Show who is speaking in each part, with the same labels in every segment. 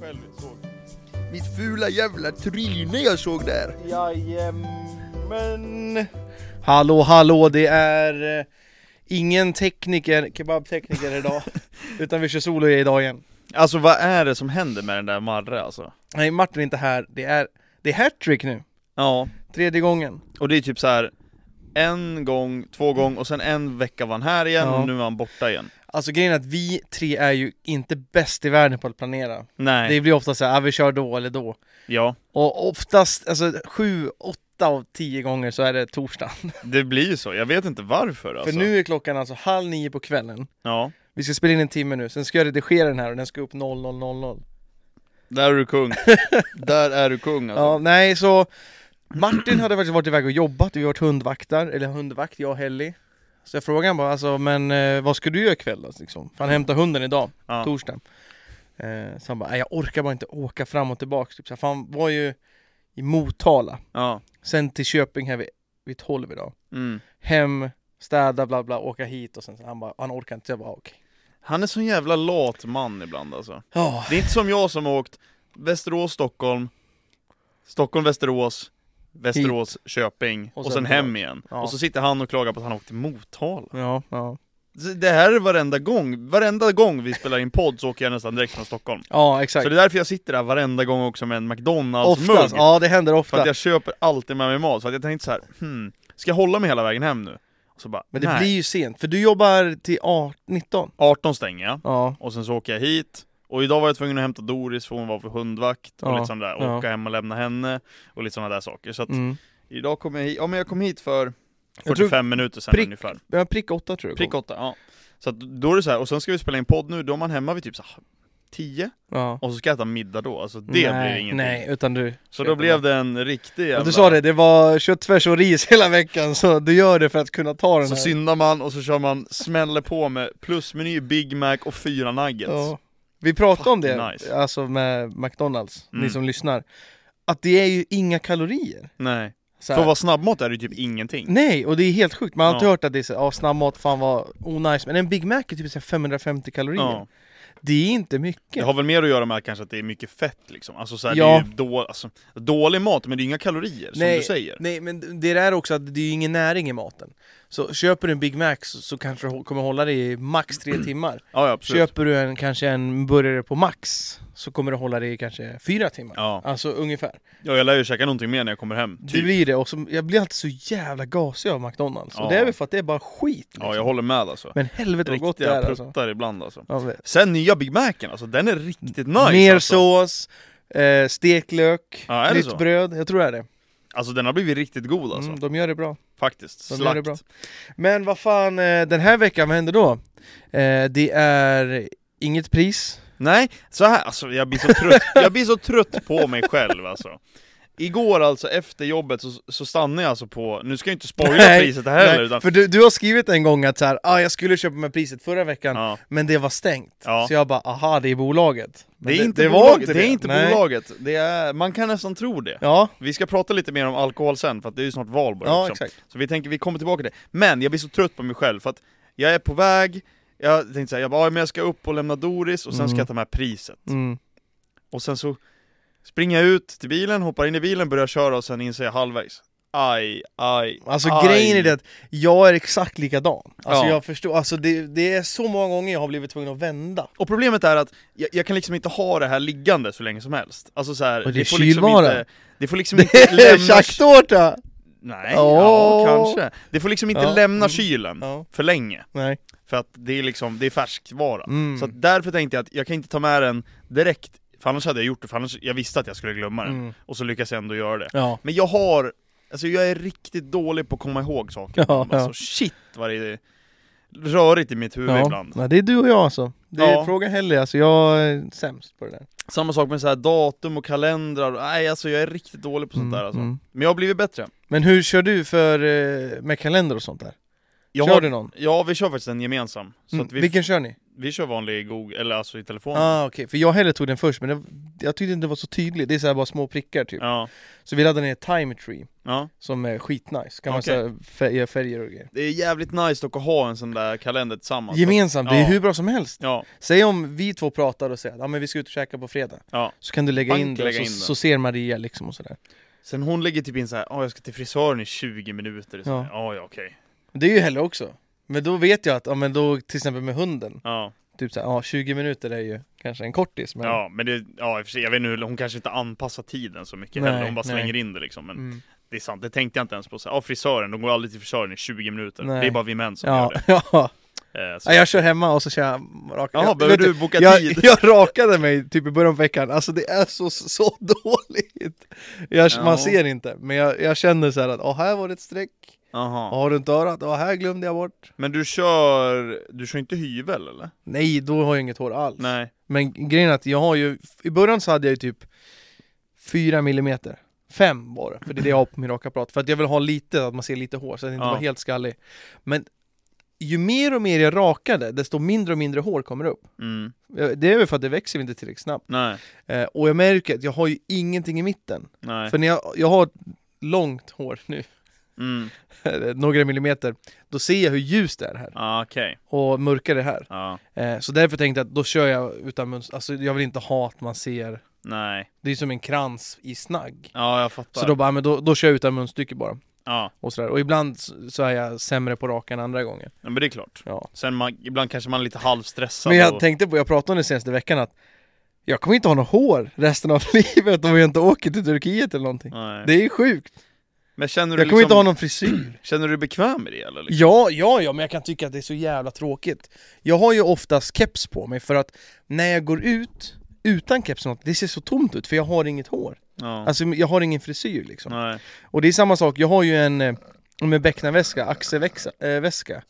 Speaker 1: själv såg.
Speaker 2: Mitt fula jävla tryne jag såg där.
Speaker 1: Jajamän. Hallå, hallå, det är eh, ingen tekniker, kebabtekniker idag. utan vi kör solo idag igen.
Speaker 3: Alltså vad är det som händer med den där Marre alltså?
Speaker 1: Nej, Martin är inte här. Det är, det är hattrick nu.
Speaker 3: Ja,
Speaker 1: Tredje gången.
Speaker 3: och det är typ så här en gång, två gång och sen en vecka var han här igen
Speaker 1: Ja.
Speaker 3: och nu är han borta igen.
Speaker 1: Alltså grejen är att vi tre är ju inte bäst i världen på att planera.
Speaker 3: Nej,
Speaker 1: Det blir ofta så här, ah, vi kör då eller då.
Speaker 3: ja,
Speaker 1: Och oftast, alltså sju, åtta av tio gånger så är det torsdag.
Speaker 3: det blir ju så. Jag vet inte varför alltså.
Speaker 1: För nu är klockan alltså halv nio på kvällen.
Speaker 3: Ja,
Speaker 1: Vi ska spela in en timme nu, sen ska jag redigera den här och den ska upp 00.00.
Speaker 3: där är du kung. där är du kung alltså.
Speaker 1: Ja, nej så Martin hade faktiskt varit iväg och jobbat, vi har varit hundvaktar, eller hundvakt, jag och Helly. Så jag frågade han bara, alltså men eh, vad ska du göra ikväll då? Liksom? För han hämtar hunden idag,
Speaker 3: Ja.
Speaker 1: torsdag. Eh, så han bara, "Nej, jag orkar bara inte åka fram och tillbaks. Typ. Så här, för han var ju i Motala,
Speaker 3: Ja,
Speaker 1: sen till Köping här vid, vid 12 idag.
Speaker 3: mm.
Speaker 1: Hem, städa, bla bla, åka hit och sen så han bara, han orkar inte. Jag bara, "Ah, okej.
Speaker 3: Han är sån jävla lat man ibland alltså.
Speaker 1: Ja,
Speaker 3: Det är inte som jag som har åkt Västerås, Stockholm, Stockholm, Västerås, Västerås, Köping och sen, hem igen.
Speaker 1: Ja.
Speaker 3: Och så sitter han och klagar på att han har åkt till Motala.
Speaker 1: ja, ja.
Speaker 3: Så Det här är varenda gång, varenda gång vi spelar in podd så åker jag nästan direkt från Stockholm
Speaker 1: Ja, exakt.
Speaker 3: Så det är därför jag sitter där varenda gång också med en McDonalds-mugg
Speaker 1: Oftast, ja det händer
Speaker 3: För att
Speaker 1: ofta.
Speaker 3: jag köper alltid med mig mat, för att jag tänkte så här, hmm, ska jag hålla mig hela vägen hem nu? Och så bara,
Speaker 1: Men det
Speaker 3: nej,
Speaker 1: blir ju sent, för du jobbar till 18, 19.
Speaker 3: 18 stänger jag,
Speaker 1: Ja.
Speaker 3: och sen så åker jag hit Och idag var jag tvungen att hämta Doris för hon var för hundvakt, och
Speaker 1: Ja,
Speaker 3: lite sån där,
Speaker 1: ja.
Speaker 3: åka hem och lämna henne Och lite sådana där saker, så att
Speaker 1: Mm.
Speaker 3: idag kom jag hit, ja men jag kom hit för
Speaker 1: Jag tror-
Speaker 3: 45 minuter sedan
Speaker 1: prick-
Speaker 3: ungefär
Speaker 1: Ja, prick 8 tror jag.
Speaker 3: Prick åtta, ja. Så att då är det så här, och sen ska vi spela in podd nu, då är man hemma vid typ så här, 10
Speaker 1: Ja.
Speaker 3: och så ska jag äta middag då, alltså det
Speaker 1: nej,
Speaker 3: blir ingenting.
Speaker 1: Nej, utan du.
Speaker 3: Så då blev det en riktig jävla...
Speaker 1: Ja, du sa det, det var köttfärs och ris hela veckan, så du gör det för att kunna ta den
Speaker 3: Så
Speaker 1: här.
Speaker 3: syndar man och så kör man, smäller på med plusmeny, Big Mac och fyra nuggets.
Speaker 1: ja. Vi pratade om det,
Speaker 3: Fucking nice.
Speaker 1: alltså med McDonalds, ni
Speaker 3: Mm.
Speaker 1: som lyssnar. Att det är ju inga kalorier.
Speaker 3: Nej.
Speaker 1: Så
Speaker 3: För
Speaker 1: här.
Speaker 3: att vara snabbmat är det ju typ ingenting.
Speaker 1: Nej, och det är helt sjukt. Man har alltid
Speaker 3: Ja.
Speaker 1: hört att det är så, ja, snabbmat, fan vad onajs. Men en Big Mac är typ så här 550 kalorier.
Speaker 3: Ja.
Speaker 1: Det är inte
Speaker 3: Det
Speaker 1: mycket.
Speaker 3: har väl mer att göra med kanske att det är mycket fett liksom. Alltså så här,
Speaker 1: Ja.
Speaker 3: det är ju då, alltså, dålig mat, men det är inga kalorier som
Speaker 1: Nej.
Speaker 3: du säger.
Speaker 1: Nej, men det är också att det är ju ingen näring i maten. Så köper du en Big Mac så, så kanske du hå- kommer hålla dig i max tre timmar.
Speaker 3: Ja, ja absolut.
Speaker 1: Köper du en, kanske en burgare på max så kommer du hålla dig i kanske fyra timmar.
Speaker 3: Ja.
Speaker 1: Alltså ungefär.
Speaker 3: ja, jag lär ju käka någonting mer när jag kommer hem.
Speaker 1: Det
Speaker 3: Typ.
Speaker 1: blir det. Och så, jag blir alltid så jävla gasig av McDonalds.
Speaker 3: Ja.
Speaker 1: Och det är väl för att det är bara skit. liksom.
Speaker 3: Ja, jag håller med alltså.
Speaker 1: Men helvete vad gott det
Speaker 3: Riktiga
Speaker 1: är alltså.
Speaker 3: pruttar ibland alltså.
Speaker 1: Ja, men-
Speaker 3: Sen nya Big Macen, alltså den är riktigt nice
Speaker 1: Mer
Speaker 3: alltså.
Speaker 1: sås, eh, steklök,
Speaker 3: Ja, är det
Speaker 1: nytt
Speaker 3: så?
Speaker 1: bröd. Jag tror det är det.
Speaker 3: alltså den har blivit riktigt god alltså,
Speaker 1: Mm, de gör det bra.
Speaker 3: faktiskt
Speaker 1: De gör
Speaker 3: Slakt
Speaker 1: det bra. Men vad fan, eh, den här veckan, vad händer då? Eh, Det är inget pris.
Speaker 3: Nej, så här, alltså jag blir så trött, jag blir så trött på mig själv alltså Igår alltså, efter jobbet, så, så stannade jag alltså på, nu ska jag inte spoila
Speaker 1: Nej,
Speaker 3: priset här heller
Speaker 1: Nej,
Speaker 3: utan,
Speaker 1: För du, du har skrivit en gång att så här, ah, jag skulle köpa med priset förra veckan,
Speaker 3: ja,
Speaker 1: men det var stängt.
Speaker 3: Ja.
Speaker 1: Så jag bara, aha, det är bolaget. Men
Speaker 3: det, är inte
Speaker 1: det var
Speaker 3: bolaget, det, är inte
Speaker 1: Nej.
Speaker 3: bolaget, det är, man kan nästan tro det
Speaker 1: Ja,
Speaker 3: Vi ska prata lite mer om alkohol sen, för att det är ju snart valborg
Speaker 1: ja
Speaker 3: också.
Speaker 1: exakt.
Speaker 3: Så vi tänker, vi kommer tillbaka till det. Men jag blir så trött på mig själv för att jag är på väg, jag tänkte såhär, jag bara, "Ja, men jag ska upp och lämna Doris och sen ska
Speaker 1: Mm.
Speaker 3: jag ta med priset.
Speaker 1: Mm.
Speaker 3: Och sen så springer jag ut till bilen, hoppar in i bilen, börjar köra och sen inser jag halvvägs. Aj, aj,
Speaker 1: Alltså
Speaker 3: aj.
Speaker 1: grejen är det att jag är exakt likadan. Alltså
Speaker 3: Ja.
Speaker 1: jag förstår, alltså det, det är så många gånger jag har blivit tvungen att vända.
Speaker 3: Och problemet är att jag, jag kan liksom inte ha det här liggande så länge som helst. Alltså så här,
Speaker 1: Och det är
Speaker 3: får liksom
Speaker 1: kylvara.
Speaker 3: inte, det får liksom inte lämna...
Speaker 1: Tjacktårta!
Speaker 3: Nej,
Speaker 1: Åh.
Speaker 3: ja kanske. Det får liksom inte
Speaker 1: Ja.
Speaker 3: lämna
Speaker 1: Mm.
Speaker 3: kylen
Speaker 1: Ja,
Speaker 3: för länge.
Speaker 1: nej.
Speaker 3: För att det är liksom, det är färskvara.
Speaker 1: Mm.
Speaker 3: Så att därför tänkte jag att jag kan inte ta med den direkt, för annars hade jag gjort det, för annars, jag visste att jag skulle glömma den.
Speaker 1: Mm.
Speaker 3: Och så lyckas jag ändå göra det.
Speaker 1: Ja.
Speaker 3: Men jag har, alltså jag är riktigt dålig på att komma ihåg saker.
Speaker 1: Ja,
Speaker 3: alltså
Speaker 1: ja.
Speaker 3: shit vad det är rörigt i mitt huvud
Speaker 1: Ja.
Speaker 3: ibland.
Speaker 1: ja, det är du och jag alltså. Det är
Speaker 3: Ja.
Speaker 1: fråga Helly, alltså jag är sämst på det där.
Speaker 3: Samma sak med så här datum och kalendrar, nej alltså jag är riktigt dålig på sånt där alltså.
Speaker 1: mm.
Speaker 3: Men jag har blivit bättre.
Speaker 1: Men hur kör du för, eh, med kalender och sånt där?
Speaker 3: Jag
Speaker 1: kör
Speaker 3: har,
Speaker 1: du någon?
Speaker 3: Ja vi kör faktiskt en gemensam. Så
Speaker 1: Mm.
Speaker 3: att vi,
Speaker 1: Vilken kör ni?
Speaker 3: vi kör vanlig Google, eller alltså i telefonen.
Speaker 1: Ah, okej, för jag hellre tog den först men det, jag tyckte inte det var så tydligt, det är så här bara små prickar typ
Speaker 3: Ja,
Speaker 1: Så vi laddade ner Time Tree
Speaker 3: ja.
Speaker 1: som är skitnice, kan man
Speaker 3: Okej.
Speaker 1: säga fär- göra färger och grejer
Speaker 3: Det är jävligt nice dock att ha en sån där kalender tillsammans.
Speaker 1: Gemensamt, det är
Speaker 3: Ja.
Speaker 1: hur bra som helst!
Speaker 3: Ja,
Speaker 1: Säg om vi två pratar och säger att ah, men vi ska ut och käka på fredag
Speaker 3: ja.
Speaker 1: Så kan du lägga
Speaker 3: Pang,
Speaker 1: in det,
Speaker 3: lägga
Speaker 1: så,
Speaker 3: in det.
Speaker 1: så ser Maria liksom och sådär
Speaker 3: Sen hon lägger typ in så här, ja jag ska till frisören i 20 minuter. Så
Speaker 1: Ja.
Speaker 3: här, Ja, ja okej.
Speaker 1: Det är ju hellre också Men då vet jag att, ja men då till exempel med hunden
Speaker 3: Ja,
Speaker 1: Typ såhär, ja 20 minuter är ju kanske en kortis men
Speaker 3: ja, men det, ja i och för sig, jag vet inte, hur- hon kanske inte anpassar tiden så mycket
Speaker 1: Nej,
Speaker 3: heller. Hon bara
Speaker 1: nej.
Speaker 3: slänger in det liksom. Men
Speaker 1: Mm.
Speaker 3: det är sant, det tänkte jag inte ens på. Så här, ja, frisören, de går aldrig till frisören i 20 minuter.
Speaker 1: Nej.
Speaker 3: Det är bara vi män som
Speaker 1: Ja,
Speaker 3: gör
Speaker 1: ja.
Speaker 3: det. Eh, så.
Speaker 1: Ja, jag kör hemma och så kör jag raka
Speaker 3: Jaha,
Speaker 1: jag,
Speaker 3: behöver
Speaker 1: vet
Speaker 3: du boka
Speaker 1: jag,
Speaker 3: tid?
Speaker 1: Jag rakade mig typ i början av veckan, alltså det är så, så dåligt! Jag,
Speaker 3: Ja.
Speaker 1: Man ser inte, men jag, jag känner så här att åh, här var det ett streck,
Speaker 3: Aha.
Speaker 1: åh, runt örat, åh, här glömde jag bort
Speaker 3: Men du kör, du kör inte hyvel eller?
Speaker 1: Nej, då har jag inget hår alls
Speaker 3: Nej.
Speaker 1: Men grejen är att jag har ju, i början så hade jag ju typ 4 millimeter Fem var det, för det är det jag har på min rakapparat. För att jag vill ha lite, att man ser lite hår så att det inte
Speaker 3: Ja.
Speaker 1: var helt skallig Men ju mer och mer jag rakade, desto mindre och mindre hår kommer upp Eh,
Speaker 3: Mm.
Speaker 1: Det är väl för att det växer inte tillräckligt snabbt
Speaker 3: Nej.
Speaker 1: Eh, och jag märker att jag har ju ingenting i mitten.
Speaker 3: Nej.
Speaker 1: För när jag, jag har långt hår nu,
Speaker 3: Mm.
Speaker 1: några millimeter, då ser jag hur ljust det är här
Speaker 3: Ah, Okej.
Speaker 1: och mörkare här.
Speaker 3: Ja.
Speaker 1: Eh, så därför tänkte jag att då kör jag utan mönster. Alltså jag vill inte ha att man ser,
Speaker 3: Nej.
Speaker 1: det är som en krans i snagg.
Speaker 3: Ja, jag fattar.
Speaker 1: Så då bara, men då, då kör jag utan munstycke bara.
Speaker 3: Ja,
Speaker 1: Och, sådär. och ibland så så är jag sämre på raka än andra gånger.
Speaker 3: men det är klart.
Speaker 1: Ja.
Speaker 3: Sen man, ibland kanske man är lite halvstressad.
Speaker 1: Men jag
Speaker 3: och-
Speaker 1: tänkte på, jag pratade om det senaste veckan att jag kommer inte ha något hår resten av livet om jag inte åker till Turkiet eller någonting.
Speaker 3: Nej.
Speaker 1: Det är sjukt.
Speaker 3: Men känner du,
Speaker 1: Jag kommer
Speaker 3: liksom,
Speaker 1: inte ha någon frisyr.
Speaker 3: känner du dig bekväm med det eller? Liksom?
Speaker 1: Ja, ja, ja, men jag kan tycka att det är så jävla tråkigt. Jag har ju oftast keps på mig för att när jag går ut utan keps och något, det ser så tomt ut för jag har inget hår.
Speaker 3: Ja.
Speaker 1: Alltså jag har ingen frisyr liksom.
Speaker 3: Nej.
Speaker 1: Och det är samma sak, jag har ju en eh, med becknarväska, axelväska. Eh, väska.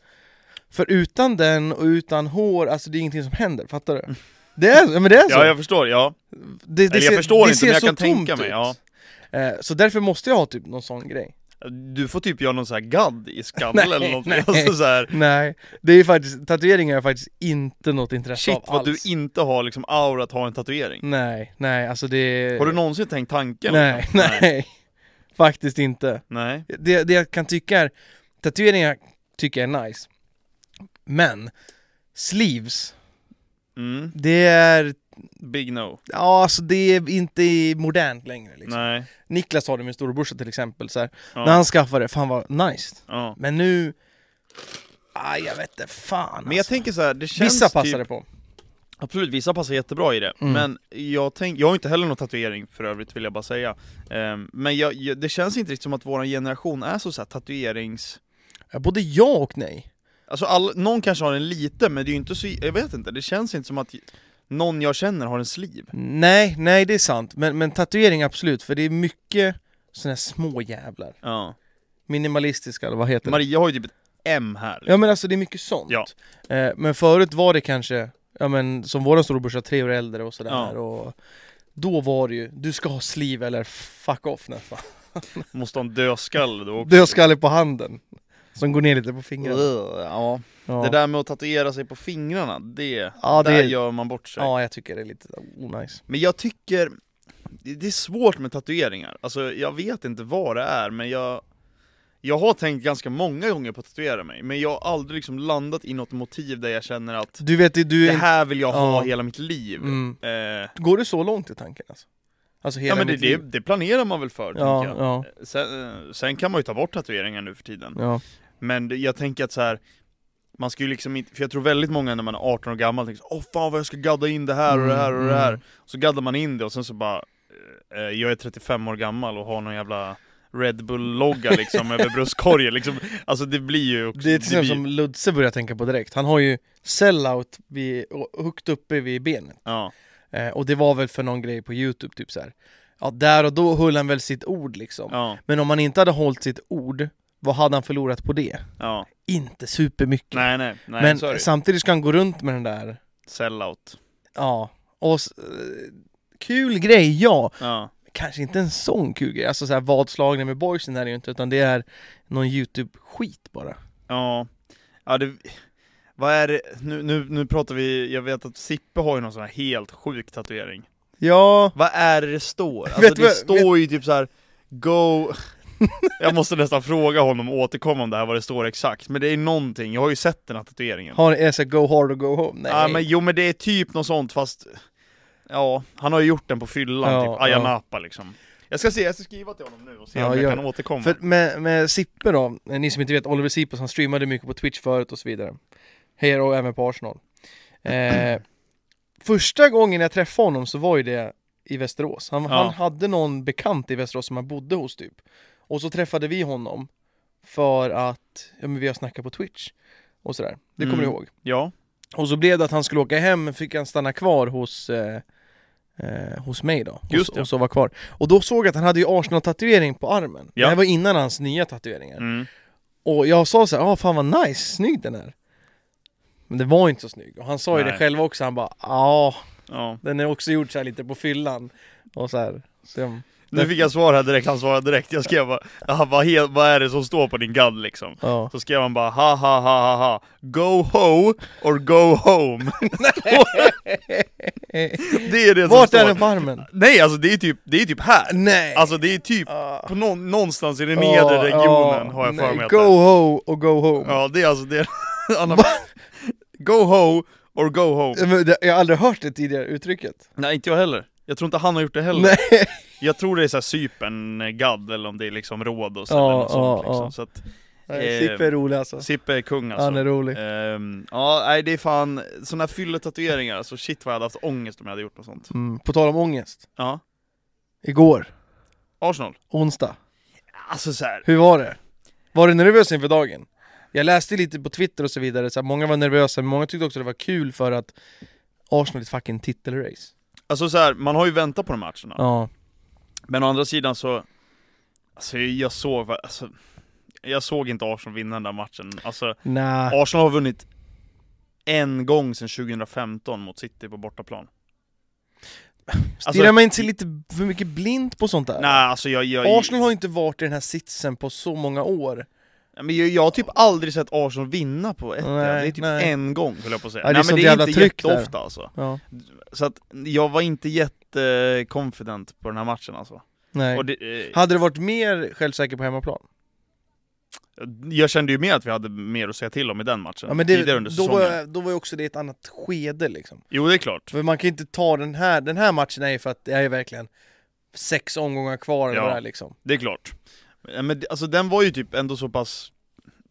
Speaker 1: för utan den och utan hår, alltså det är ingenting som händer, fattar du? Det är, ja, men det är så!
Speaker 3: Ja, jag förstår. Ja.
Speaker 1: det, det
Speaker 3: eller jag förstår inte, men jag kan tänka mig, ja.
Speaker 1: Eh, Så därför måste jag ha typ någon sån grej.
Speaker 3: Du får typ göra någon sån här gadd i skallen eller
Speaker 1: Nej,
Speaker 3: något.
Speaker 1: nej.
Speaker 3: Alltså, så här,
Speaker 1: Nej, det är faktiskt, tatueringar har jag faktiskt inte något intresse
Speaker 3: shit
Speaker 1: av
Speaker 3: vad
Speaker 1: alls.
Speaker 3: du inte har liksom aura att ha en tatuering.
Speaker 1: Nej, nej, alltså det...
Speaker 3: Har du någonsin tänkt tanken?
Speaker 1: Nej,
Speaker 3: liksom?
Speaker 1: nej, Faktiskt inte.
Speaker 3: Nej.
Speaker 1: Det, det jag kan tycka är, tatueringar tycker jag är nice. Men, sleeves,
Speaker 3: Mm.
Speaker 1: det är,
Speaker 3: Big no.
Speaker 1: ja alltså det är inte modernt längre liksom.
Speaker 3: Nej.
Speaker 1: Niklas har det med storebrorsa till exempel så här.
Speaker 3: Ja.
Speaker 1: När han skaffade det, fan vad nice.
Speaker 3: Ja.
Speaker 1: Men nu, aj jag vet inte fan
Speaker 3: Men jag
Speaker 1: alltså.
Speaker 3: tänker så här, det känns
Speaker 1: Vissa
Speaker 3: typ...
Speaker 1: passar det på.
Speaker 3: Absolut, vissa passar jättebra i det.
Speaker 1: Mm.
Speaker 3: Men jag, tänk, jag har inte heller någon tatuering för övrigt vill jag bara säga. Ehm, men jag, jag, det känns inte riktigt som att vår generation är så, så här, tatuerings...
Speaker 1: Ja, Både ja och nej.
Speaker 3: Alltså all, någon kanske har en liten, men det är ju inte så... Jag vet inte, det känns inte som att någon jag känner har en sliv.
Speaker 1: Nej, nej det är sant. Men, men tatuering absolut, för det är mycket sådana här små jävlar.
Speaker 3: Ja.
Speaker 1: Minimalistiska eller vad heter det?
Speaker 3: Maria har ju typ ett M här. liksom.
Speaker 1: Ja men alltså det är mycket sånt.
Speaker 3: Ja.
Speaker 1: Eh, men förut var det kanske, ja men som våran storebrorsa, tre år äldre och sådär.
Speaker 3: Ja.
Speaker 1: Och då var det ju, du ska ha sleeve eller fuck off nästan.
Speaker 3: Måste ha en dödskalle då också.
Speaker 1: Dödskalle på handen. Som går ner lite på fingrarna.
Speaker 3: Ugh, Ja.
Speaker 1: Ja.
Speaker 3: Det där med att tatuera sig på fingrarna, det,
Speaker 1: Ja, det-
Speaker 3: där gör man bort sig.
Speaker 1: ja jag tycker det är lite onajs.
Speaker 3: Men jag tycker, det det är svårt med tatueringar, alltså jag vet inte vad det är men jag Jag har tänkt ganska många gånger på att tatuera mig, men jag har aldrig liksom landat i något motiv där jag känner att
Speaker 1: Du vet, du
Speaker 3: Det
Speaker 1: är inte...
Speaker 3: här vill jag ha
Speaker 1: Mm. Ja.
Speaker 3: hela mitt liv
Speaker 1: Mm.
Speaker 3: eh,
Speaker 1: Går du så långt i tanken alltså? Alltså hela
Speaker 3: Ja men det,
Speaker 1: mitt
Speaker 3: det,
Speaker 1: liv?
Speaker 3: det planerar man väl för
Speaker 1: Ja,
Speaker 3: tänker jag
Speaker 1: ja,
Speaker 3: sen, eh, sen kan man ju ta bort tatueringar nu för tiden
Speaker 1: ja.
Speaker 3: Men det- jag tänker att så här. Man ska ju liksom inte, för jag tror väldigt många när man är 18 år gammal tänker så, åh fan vad jag ska gadda in det här och det här och det här
Speaker 1: Mm,
Speaker 3: Så gaddar man in det och sen så bara, eh, jag är 35 år gammal och har någon jävla Red Bull-logga liksom över bröstkorgen liksom Alltså det blir ju också,
Speaker 1: Det är till exempel
Speaker 3: blir-
Speaker 1: som Ludse börjar tänka på direkt. Han har ju sellout vid, och högt uppe vid benet.
Speaker 3: ja,
Speaker 1: Eh, och det var väl för någon grej på Youtube, typ så här. Ja, där och då höll han väl sitt ord liksom.
Speaker 3: ja,
Speaker 1: Men om han inte hade hållit sitt ord, vad hade han förlorat på det?
Speaker 3: ja,
Speaker 1: Inte supermycket.
Speaker 3: nej nej, nej
Speaker 1: Men
Speaker 3: sorry.
Speaker 1: samtidigt ska han gå runt med den där,
Speaker 3: sellout
Speaker 1: ja. Och, s- eh, kul grej, ja.
Speaker 3: ja.
Speaker 1: Kanske inte en sån kul grej, alltså så här vadslagning med boysen är det ju inte, utan det är någon Youtube-skit bara.
Speaker 3: ja, ja det, Vad är det? Nu, nu, nu pratar vi, jag vet att Sippe har ju någon sån här helt sjuk tatuering
Speaker 1: Ja,
Speaker 3: Vad är det det står? Alltså
Speaker 1: Vet
Speaker 3: det
Speaker 1: du vad-
Speaker 3: står ju typ så här. Go... jag måste nästan fråga honom och återkomma om det här vad det står exakt Men det är någonting, jag har ju sett den här tatueringen
Speaker 1: har ni så här, go hard or go home? Nej.
Speaker 3: Ja, men, jo men det är typ något sånt fast Ja, han har ju gjort den på fyllan,
Speaker 1: Ja,
Speaker 3: typ Ayia
Speaker 1: ja.
Speaker 3: Napa liksom Jag ska se, jag ska skriva till honom nu och se
Speaker 1: Ja,
Speaker 3: om jag
Speaker 1: gör
Speaker 3: kan återkomma
Speaker 1: För med, med Sippe då, eh, ni som inte vet, Oliver Sipos, han streamade mycket på Twitch förut och så vidare. Här och även på Arsenal. Eh, första gången jag träffade honom så var ju det i Västerås. Han,
Speaker 3: Ja.
Speaker 1: han hade någon bekant i Västerås som han bodde hos typ. Och så träffade vi honom för att, ja men vi har snackat på Twitch och sådär. Det kommer
Speaker 3: Mm.
Speaker 1: du ihåg?
Speaker 3: Ja,
Speaker 1: Och så blev det att han skulle åka hem, men fick han stanna kvar hos eh, eh, hos mig då, och,
Speaker 3: Just
Speaker 1: så-
Speaker 3: det.
Speaker 1: och så var kvar. Och då såg jag att han hade ju Arsenal-tatuering på armen.
Speaker 3: Ja.
Speaker 1: Det här var innan hans nya tatueringar.
Speaker 3: mm.
Speaker 1: Och jag sa så här, ah fan vad nice, snygg den är. Men det var inte så snygg. Och han sa ju
Speaker 3: Nej.
Speaker 1: det själv också, han bara, ja,
Speaker 3: ja
Speaker 1: den är också gjord så här lite på fyllan. Och så här. Så jag,
Speaker 3: Nu fick jag svar här direkt, han svarade direkt Jag skrev bara, "Ah, vad, he- vad är det som står på din gadd liksom?
Speaker 1: ja.
Speaker 3: Så skrev han bara ha ha ha ha ha Go ho or go home Det är det som
Speaker 1: Vart
Speaker 3: står
Speaker 1: är den på armen?
Speaker 3: Nej alltså det är typ, det är typ här
Speaker 1: Nej!
Speaker 3: Alltså det är typ
Speaker 1: Ah.
Speaker 3: på nå- någonstans i den nedre
Speaker 1: Ja,
Speaker 3: regionen
Speaker 1: ja,
Speaker 3: har jag för
Speaker 1: nej.
Speaker 3: mig att
Speaker 1: Go
Speaker 3: det är.
Speaker 1: ho och go home.
Speaker 3: Ja det är alltså det Anna, Go ho or go home
Speaker 1: Men det- Jag har aldrig hört det tidigare uttrycket.
Speaker 3: Nej inte jag heller Jag tror inte han har gjort det heller
Speaker 1: Nej.
Speaker 3: Jag tror det är såhär Cypern-gadd eh, eller om det är liksom Rhodos
Speaker 1: Ja,
Speaker 3: eller något sånt
Speaker 1: ja,
Speaker 3: liksom
Speaker 1: ja.
Speaker 3: Så att
Speaker 1: Nej,
Speaker 3: Eh,
Speaker 1: Sippe är rolig alltså.
Speaker 3: Sippe är kung alltså
Speaker 1: Han är rolig.
Speaker 3: Ehm, ja, nej det är fan, såna här fylletatueringar, alltså shit vad jag hade haft ångest om jag hade gjort något sånt.
Speaker 1: Mm. På tal om ångest.
Speaker 3: Ja.
Speaker 1: Igår,
Speaker 3: Arsenal.
Speaker 1: onsdag.
Speaker 3: Alltså så här.
Speaker 1: Hur var det? Var du nervös inför dagen? Jag läste lite på Twitter och så vidare, så här, många var nervösa, men många tyckte också det var kul för att Arsenal är ett fucking titelrace.
Speaker 3: alltså så här, man har ju väntat på de matcherna.
Speaker 1: Ja.
Speaker 3: Men å andra sidan så, alltså jag såg, va- alltså, jag såg inte Arsenal vinna den där matchen. Alltså,
Speaker 1: Nä.
Speaker 3: Arsenal har vunnit en gång sedan 2015 mot City på bortaplan. alltså-
Speaker 1: Stirrar man inte sig lite för mycket blint på sånt där?
Speaker 3: Nej, alltså jag, jag,
Speaker 1: Arsenal har inte varit i den här sitsen på så många år.
Speaker 3: Ja, Men jag, jag har typ aldrig sett Arsenal vinna på ett
Speaker 1: Nej,
Speaker 3: Det är typ
Speaker 1: nej.
Speaker 3: en gång höll jag på att säga.
Speaker 1: Ja, det är
Speaker 3: nej
Speaker 1: sånt
Speaker 3: men det är
Speaker 1: jävla
Speaker 3: inte
Speaker 1: tryck där.
Speaker 3: jätteofta alltså.
Speaker 1: Ja.
Speaker 3: Så att jag var inte jätteconfident på den här matchen alltså.
Speaker 1: Nej.
Speaker 3: Och det, eh,
Speaker 1: Hade du varit mer självsäker på hemmaplan?
Speaker 3: jag kände ju mer att vi hade mer att säga till om i den matchen,
Speaker 1: Ja, men det,
Speaker 3: tidigare under
Speaker 1: då,
Speaker 3: säsongen.
Speaker 1: var, då var ju också det ett annat skede liksom.
Speaker 3: Jo det är klart.
Speaker 1: För man kan inte ta den här, den här matchen är ju för att det är ju verkligen sex omgångar kvar eller
Speaker 3: Ja.
Speaker 1: vad det är liksom.
Speaker 3: Det är klart. Ja, Men det- alltså den var ju typ ändå så pass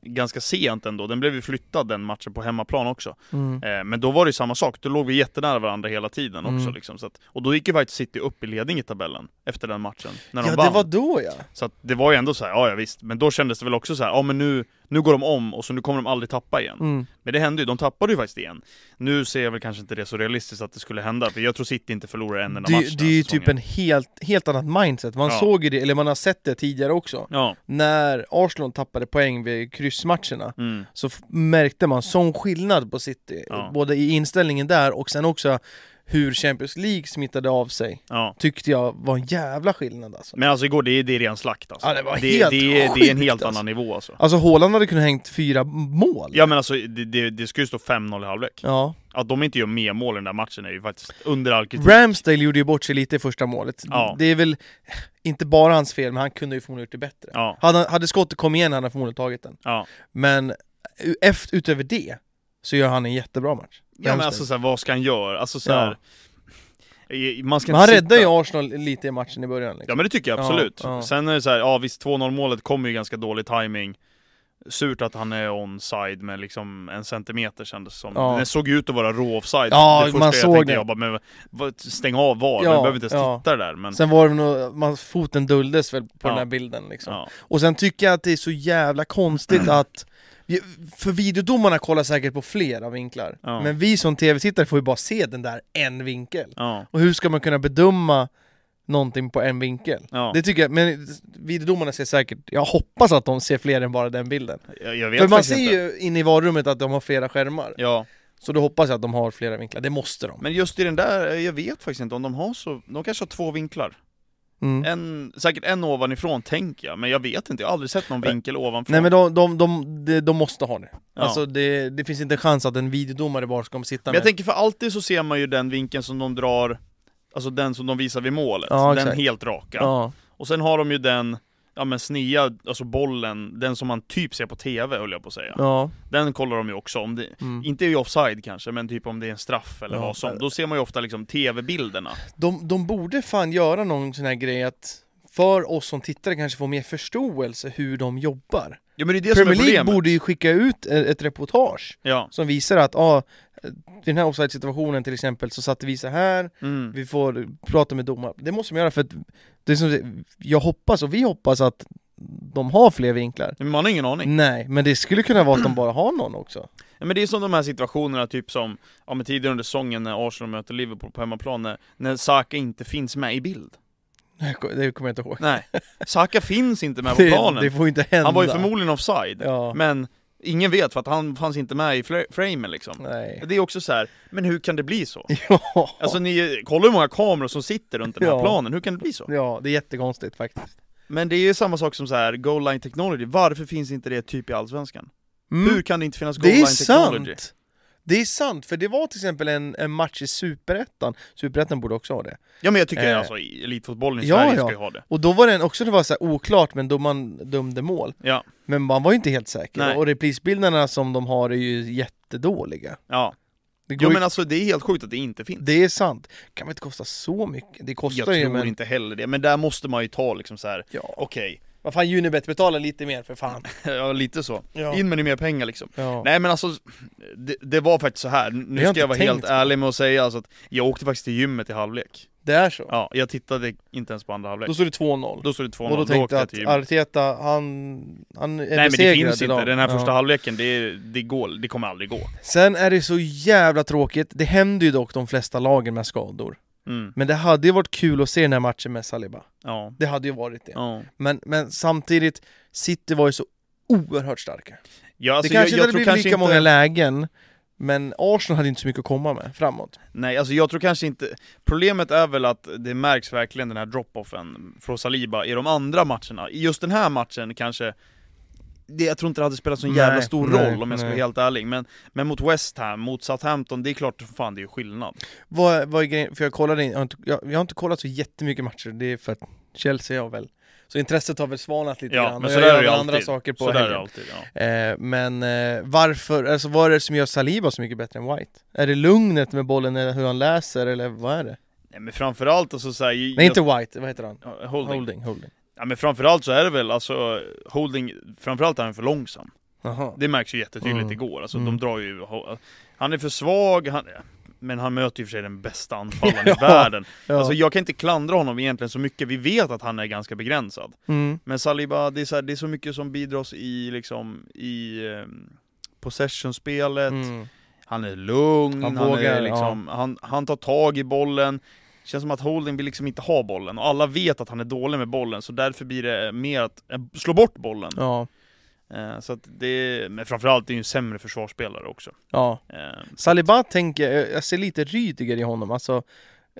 Speaker 3: ganska sent ändå, den blev ju flyttad den matchen på hemmaplan också. Eh, men då var det ju samma sak, då låg vi jättenära varandra hela tiden också
Speaker 1: Mm.
Speaker 3: liksom. Så att, och då gick ju faktiskt City upp i ledning i tabellen efter den matchen, när de
Speaker 1: Ja,
Speaker 3: vann.
Speaker 1: det var då ja.
Speaker 3: Så att det var ju ändå så här, ja, ja visst, men då kändes det väl också så här, ja men nu, nu går de om och så nu kommer de aldrig tappa igen. Men det hände ju, de tappade ju faktiskt igen. Nu ser jag väl kanske inte det så realistiskt att det skulle hända, för jag tror City inte förlorar en enda match
Speaker 1: Det,
Speaker 3: den
Speaker 1: det
Speaker 3: här
Speaker 1: är ju
Speaker 3: säsongen.
Speaker 1: typ en helt, helt annat mindset. Man
Speaker 3: Ja.
Speaker 1: såg ju det, eller man har sett det tidigare också.
Speaker 3: Ja,
Speaker 1: När Arsenal tappade poäng vid kryssmatcherna
Speaker 3: mm.
Speaker 1: så f- märkte man sån skillnad på City.
Speaker 3: Ja.
Speaker 1: Både i inställningen där och sen också hur Champions League smittade av sig.
Speaker 3: ja.
Speaker 1: Tyckte jag var en jävla skillnad alltså.
Speaker 3: Men alltså igår, det är, det är ren slakt alltså.
Speaker 1: Ja, det var
Speaker 3: det,
Speaker 1: helt
Speaker 3: det, är, det är en
Speaker 1: sjukt,
Speaker 3: helt
Speaker 1: alltså.
Speaker 3: annan nivå alltså.
Speaker 1: Alltså Haaland hade kunnat hängt fyra mål.
Speaker 3: Ja men alltså, det, det, det ska ju stå 5-0 i halvlek.
Speaker 1: Ja.
Speaker 3: Att de inte gör mer mål i den där matchen är ju faktiskt under all kritik.
Speaker 1: Ramsdale gjorde ju bort sig lite i första målet.
Speaker 3: Ja.
Speaker 1: Det är väl inte bara hans fel, men han kunde ju förmodligen gjort det bättre.
Speaker 3: Ja,
Speaker 1: Hade, hade skottet kommit igen hade han förmodligen tagit den.
Speaker 3: ja.
Speaker 1: Men u- efter, utöver det så gör han en jättebra match.
Speaker 3: Ja men
Speaker 1: Ramsdale.
Speaker 3: alltså så här, vad ska han göra? Alltså så här, Eh, Man ska
Speaker 1: men han
Speaker 3: inte
Speaker 1: räddar
Speaker 3: sitta-
Speaker 1: ju Arsenal lite i matchen i början.
Speaker 3: Ja
Speaker 1: Liksom.
Speaker 3: men det tycker jag
Speaker 1: Ja,
Speaker 3: absolut.
Speaker 1: ja.
Speaker 3: Sen är det så här, ja visst 2-0 målet kommer ju ganska dålig timing. Surt att han är onside med liksom en centimeter kändes det som.
Speaker 1: Ja.
Speaker 3: Den såg ju ut att vara rå offside.
Speaker 1: Ja,
Speaker 3: det första
Speaker 1: man
Speaker 3: jag
Speaker 1: såg
Speaker 3: tänkte,
Speaker 1: det.
Speaker 3: jag bara, men vad- stäng av VAR,
Speaker 1: Ja,
Speaker 3: man behöver inte ens
Speaker 1: ja.
Speaker 3: titta där. Men,
Speaker 1: Sen var det nog, man, foten döldes väl på
Speaker 3: Ja.
Speaker 1: den här bilden liksom.
Speaker 3: ja.
Speaker 1: Och sen tycker jag att det är så jävla konstigt att vi- för videodomarna kollar säkert på flera vinklar,
Speaker 3: Ja.
Speaker 1: men vi som tv-tittare får ju bara se den där en vinkel.
Speaker 3: Ja,
Speaker 1: Och hur ska man kunna bedöma någonting på en vinkel?
Speaker 3: ja.
Speaker 1: Det tycker jag, men videodomarna ser säkert, jag hoppas att de ser fler än bara den bilden.
Speaker 3: jag, jag vet
Speaker 1: För man
Speaker 3: faktiskt
Speaker 1: ser
Speaker 3: inte.
Speaker 1: ju inne i varummet att de har flera skärmar,
Speaker 3: Ja,
Speaker 1: så då hoppas jag att de har flera vinklar, det måste de.
Speaker 3: men just i den där, jag vet faktiskt inte om de har så, de kanske har två vinklar.
Speaker 1: Mm.
Speaker 3: En, säkert en ovanifrån tänker jag, men jag vet inte, jag har aldrig sett någon vinkel ovanför.
Speaker 1: Nej men de, de, de, de, de måste ha det.
Speaker 3: Ja.
Speaker 1: Alltså det, det finns inte en chans att en videodomare bara ska sitta
Speaker 3: men
Speaker 1: med.
Speaker 3: jag tänker för alltid så ser man ju den vinkeln som de drar, alltså den som de visar vid målet,
Speaker 1: Ja,
Speaker 3: den
Speaker 1: exakt.
Speaker 3: helt raka.
Speaker 1: ja.
Speaker 3: Och sen har de ju den, ja men snea, alltså bollen, den som man typ ser på TV höll jag på att säga.
Speaker 1: ja.
Speaker 3: Den kollar de ju också, om det,
Speaker 1: Mm.
Speaker 3: inte i offside kanske, men typ om det är en straff eller
Speaker 1: Ja.
Speaker 3: vad som. Då ser man ju ofta liksom TV-bilderna.
Speaker 1: De, de borde fan göra någon sån här grej att för oss som tittare kanske få mer förståelse hur de jobbar.
Speaker 3: Ja men det är det som är
Speaker 1: Premier League
Speaker 3: problemet.
Speaker 1: borde ju skicka ut e- ett reportage
Speaker 3: Ja.
Speaker 1: som visar att ah, i den här offside-situationen till exempel så satte vi så här,
Speaker 3: Mm.
Speaker 1: vi får prata med domaren. Det måste de göra för att det är som, jag hoppas och vi hoppas att de har fler vinklar.
Speaker 3: Men man har ingen aning.
Speaker 1: Nej, men det skulle kunna vara att de bara har någon också.
Speaker 3: Ja, men det är som de här situationerna, typ som ja, men tidigare under säsongen när Arsenal möter Liverpool på hemmaplan, när, när Saka inte finns med i bild.
Speaker 1: Det kom- Det kommer jag inte ihåg.
Speaker 3: Nej, Saka finns inte med på
Speaker 1: Det,
Speaker 3: planen.
Speaker 1: det får ju inte hända.
Speaker 3: han var ju förmodligen offside,
Speaker 1: Ja.
Speaker 3: men ingen vet för att han fanns inte med i fla- framen liksom.
Speaker 1: Nej.
Speaker 3: Det är också så här, men hur kan det bli så?
Speaker 1: Ja.
Speaker 3: Alltså ni, kolla hur många kameror som sitter runt den här
Speaker 1: Ja.
Speaker 3: planen, hur kan det bli så?
Speaker 1: ja, det är jättekonstigt faktiskt.
Speaker 3: Men det är ju samma sak som så här, goal line technology, varför finns inte det typ i Allsvenskan? Hur kan det inte finnas goal
Speaker 1: Mm, Det är
Speaker 3: line technology?
Speaker 1: sant! Det är sant, för det var till exempel en, en match i Superettan, Superettan borde också ha det.
Speaker 3: Ja men jag tycker
Speaker 1: Eh.
Speaker 3: alltså i- elitfotbollen i
Speaker 1: Ja,
Speaker 3: Sverige
Speaker 1: ja.
Speaker 3: ska ju ha det.
Speaker 1: Och då var den också det var så här oklart, men då man dömde mål.
Speaker 3: Ja,
Speaker 1: Men man var ju inte helt säker,
Speaker 3: Nej.
Speaker 1: och reprisbilderna som de har är ju jättedåliga.
Speaker 3: ja.
Speaker 1: Det, går
Speaker 3: Jo
Speaker 1: ju-
Speaker 3: men alltså det är helt sjukt att det inte finns.
Speaker 1: det är sant. Kan väl inte kosta så mycket? Det kostar
Speaker 3: Jag
Speaker 1: ju
Speaker 3: tror
Speaker 1: men...
Speaker 3: inte heller det, men där måste man ju ta liksom så här.
Speaker 1: Ja.
Speaker 3: okej,
Speaker 1: Vad fan, Unibet betalar lite mer för fan.
Speaker 3: ja lite så.
Speaker 1: Ja.
Speaker 3: In med det mer pengar liksom.
Speaker 1: Ja.
Speaker 3: Nej men alltså, det, det var faktiskt så här. nu
Speaker 1: har
Speaker 3: ska
Speaker 1: inte
Speaker 3: jag vara
Speaker 1: tänkt
Speaker 3: helt
Speaker 1: på.
Speaker 3: ärlig med att säga alltså att jag åkte faktiskt till gymmet i halvlek.
Speaker 1: Det är så?
Speaker 3: Ja, jag tittade inte ens på andra halvlek.
Speaker 1: Då
Speaker 3: Då,
Speaker 1: stod det 2-0.
Speaker 3: stod det 2-0,
Speaker 1: Och då
Speaker 3: då åkte
Speaker 1: tänkte jag
Speaker 3: jag
Speaker 1: att
Speaker 3: till gymmet.
Speaker 1: Arteta, han, han är
Speaker 3: Nej men det
Speaker 1: besegrad
Speaker 3: finns inte,
Speaker 1: idag.
Speaker 3: den här första
Speaker 1: Ja.
Speaker 3: halvleken, det, det, går, det kommer aldrig gå.
Speaker 1: Sen är det så jävla tråkigt, det händer ju dock de flesta lagen med skador.
Speaker 3: Mm.
Speaker 1: Men det hade ju varit kul att se den här matchen med Saliba.
Speaker 3: Ja.
Speaker 1: Det hade ju varit det.
Speaker 3: Ja. Alltså,
Speaker 1: Men, men samtidigt, City var ju så oerhört starka.
Speaker 3: Ja, alltså,
Speaker 1: det
Speaker 3: jag, jag
Speaker 1: kanske inte
Speaker 3: tror
Speaker 1: hade blivit
Speaker 3: kanske
Speaker 1: lika
Speaker 3: inte...
Speaker 1: många lägen, men Arsenal hade inte så mycket att komma med framåt.
Speaker 3: Nej, alltså jag tror kanske inte... Problemet är väl att det märks verkligen den här drop-offen från Saliba i de andra matcherna. I just den här matchen kanske... Det, jag tror inte det hade spelat så
Speaker 1: Nej,
Speaker 3: jävla stor
Speaker 1: nej,
Speaker 3: roll om jag ska vara
Speaker 1: nej.
Speaker 3: helt ärlig. Men, men mot West Ham, mot Southampton, det är klart som fan det är skillnad.
Speaker 1: Vad, vad är grejen? För jag kollade in, jag har, inte, jag, jag har inte kollat så jättemycket matcher, det är för att Chelsea har väl... Så intresset har väl svalnat lite
Speaker 3: Ja,
Speaker 1: grann,
Speaker 3: men
Speaker 1: och
Speaker 3: så
Speaker 1: jag
Speaker 3: där
Speaker 1: gör
Speaker 3: är det
Speaker 1: väl
Speaker 3: alltid.
Speaker 1: andra saker på
Speaker 3: så där är det
Speaker 1: helgen.
Speaker 3: alltid, ja.
Speaker 1: Eh, men eh, varför, alltså vad är det som gör Saliba så mycket bättre än White? Är det lugnet med bollen eller hur han läser eller vad är det?
Speaker 3: Nej men framförallt alltså såhär...
Speaker 1: Nej inte White, vad heter han?
Speaker 3: Holding. holding.
Speaker 1: Holding, holding.
Speaker 3: Ja men framförallt så är det väl alltså, Holding, framförallt är han för långsam.
Speaker 1: Jaha.
Speaker 3: Det märks ju jättetydligt
Speaker 1: Mm.
Speaker 3: igår, alltså
Speaker 1: Mm.
Speaker 3: de drar ju... Han är för svag, han, men han möter ju för sig den bästa anfallaren
Speaker 1: Ja.
Speaker 3: i världen.
Speaker 1: Ja.
Speaker 3: Alltså jag kan inte klandra honom egentligen så mycket, vi vet att han är ganska begränsad.
Speaker 1: mm.
Speaker 3: Men Saliba, det är så, här, det är så mycket som bidras i liksom, i ehm, possession-spelet,
Speaker 1: Mm.
Speaker 3: han är lugn,
Speaker 1: Han
Speaker 3: han,
Speaker 1: vågar,
Speaker 3: är liksom, han, han tar tag i bollen. Känns som att Holding vill liksom inte ha bollen, och alla vet att han är dålig med bollen, så därför blir det mer att eh, slå bort bollen.
Speaker 1: Ja.
Speaker 3: Eh, så att det, men framförallt, det är ju en sämre försvarsspelare också.
Speaker 1: ja.
Speaker 3: Eh,
Speaker 1: Saliba tänker, eh, jag- jag ser lite Rydiger i honom, alltså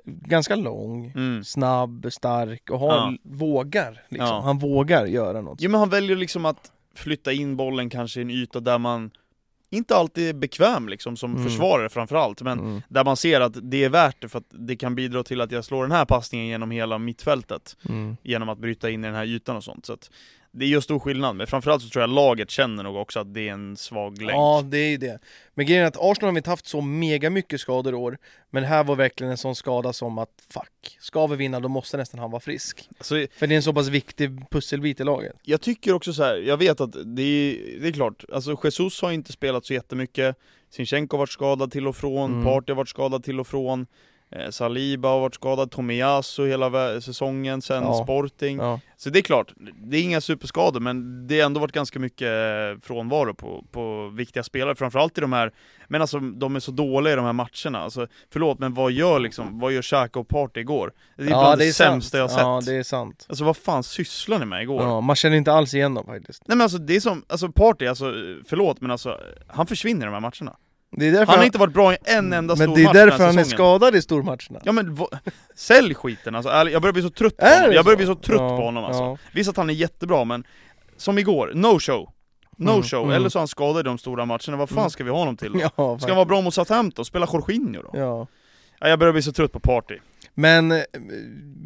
Speaker 1: ganska lång,
Speaker 3: mm.
Speaker 1: snabb, stark och har,
Speaker 3: Ja.
Speaker 1: vågar liksom.
Speaker 3: Ja.
Speaker 1: Han vågar göra något.
Speaker 3: Jo men han väljer liksom att flytta in bollen kanske i en yta där man inte alltid är bekväm liksom, som
Speaker 1: Mm.
Speaker 3: försvarare framförallt, men
Speaker 1: Mm.
Speaker 3: där man ser att det är värt det för att det kan bidra till att jag slår den här passningen genom hela mittfältet,
Speaker 1: Mm.
Speaker 3: genom att bryta in i den här ytan och sånt. Så att det är ju stor skillnad, men framförallt så tror jag laget känner nog också att det är en svag länk.
Speaker 1: Ja, det är ju det. Men grejen är att Arsenal har inte haft så mega mycket skador i år. Men det här var verkligen en sån skada som att fuck, ska vi vinna då måste nästan han vara frisk.
Speaker 3: Alltså,
Speaker 1: För det är en så pass viktig pusselbit i laget.
Speaker 3: jag tycker också så här, jag vet att det är, det är klart, alltså Jesus har inte spelat så jättemycket, Sinchenko har varit skadad till och från,
Speaker 1: Mm.
Speaker 3: Partey har varit skadad till och från, eh, Saliba har varit skadad, Tomiyasu hela vä- säsongen sen
Speaker 1: Ja.
Speaker 3: Sporting.
Speaker 1: Ja.
Speaker 3: Så det är klart, det är inga superskador men det har ändå varit ganska mycket eh, frånvaro på, på viktiga spelare, framförallt i de här, men alltså de är så dåliga i de här matcherna. Alltså, förlåt men vad gör liksom, vad gör Xhaka och Partey igår? Det är bland det, sämsta jag
Speaker 1: sant.
Speaker 3: har sett.
Speaker 1: Ja, det är sant.
Speaker 3: Alltså vad fan sysslar ni med igår?
Speaker 1: Ja, man känner inte alls igen dem faktiskt.
Speaker 3: Nej men alltså det är som, alltså Partey, alltså förlåt men alltså, han försvinner i de här matcherna.
Speaker 1: Det är därför
Speaker 3: Han har inte varit bra i en enda stor
Speaker 1: men
Speaker 3: match
Speaker 1: det är
Speaker 3: den här
Speaker 1: därför han är
Speaker 3: säsongen.
Speaker 1: skadad i stormatcherna.
Speaker 3: Ja men va- sälj skiten alltså, ärligt, jag börjar bli så trött på
Speaker 1: Är
Speaker 3: honom,
Speaker 1: det
Speaker 3: jag börjar
Speaker 1: så?
Speaker 3: bli så trött
Speaker 1: Ja,
Speaker 3: på honom alltså
Speaker 1: ja.
Speaker 3: Visst att han är jättebra men, som igår, no show No
Speaker 1: Mm,
Speaker 3: show,
Speaker 1: mm.
Speaker 3: eller så är han skadad i de stora matcherna, vad fan
Speaker 1: Mm.
Speaker 3: ska vi ha honom till då?
Speaker 1: Ja,
Speaker 3: Ska
Speaker 1: faktiskt.
Speaker 3: han vara bra mot Southampton? Spela Jorginho då?
Speaker 1: ja.
Speaker 3: Ja, jag börjar bli så trött på party
Speaker 1: Men eh,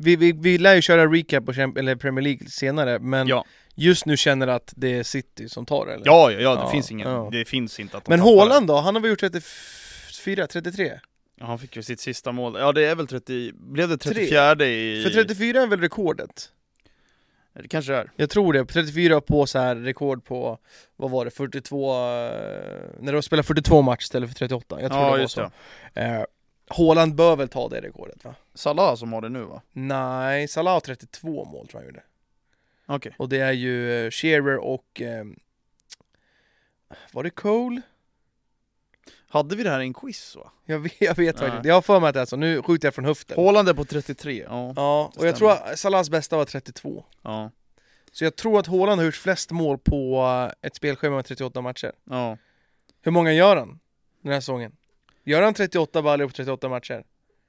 Speaker 1: vi, vi, vi lär ju köra recap på Champ- eller Premier League senare, men
Speaker 3: Ja,
Speaker 1: just nu känner jag att det är City som tar det eller?
Speaker 3: ja, ja, ja det
Speaker 1: Ja,
Speaker 3: finns ingen,
Speaker 1: ja.
Speaker 3: det finns inte att de
Speaker 1: men
Speaker 3: tappar det.
Speaker 1: Haaland då? Han har väl gjort 34, 33?
Speaker 3: ja, han fick ju sitt sista mål, ja det är väl 30, blev det 34 i...
Speaker 1: För 34 är väl rekordet?
Speaker 3: Det kanske det är
Speaker 1: Jag tror det, 34 på så här rekord på, vad var det, 42... eh, När de spelar 42 matcher istället för 38, jag tror
Speaker 3: Ja
Speaker 1: det var
Speaker 3: just
Speaker 1: så.
Speaker 3: det,
Speaker 1: Eh, Haaland bör väl ta det rekordet va?
Speaker 3: Salah som har det nu va?
Speaker 1: Nej, Salah har 32 mål tror jag han gjorde.
Speaker 3: Okej,
Speaker 1: Och det är ju eh, Shearer och... Eh, var det Cole?
Speaker 3: hade vi det här i en quiz va?
Speaker 1: Jag vet, jag vet
Speaker 3: Nej.
Speaker 1: faktiskt inte. Jag har för mig att det är så, nu skjuter jag från höften.
Speaker 3: Haaland är på 33, ja,
Speaker 1: ja, och jag tror
Speaker 3: stämmer.
Speaker 1: att Salahs bästa var 32.
Speaker 3: ja,
Speaker 1: Så jag tror att Haaland har gjort flest mål på eh, ett spelschema med 38 matcher.
Speaker 3: ja.
Speaker 1: Hur många gör han den här säsongen? Gör han 38 baller på 38 matcher?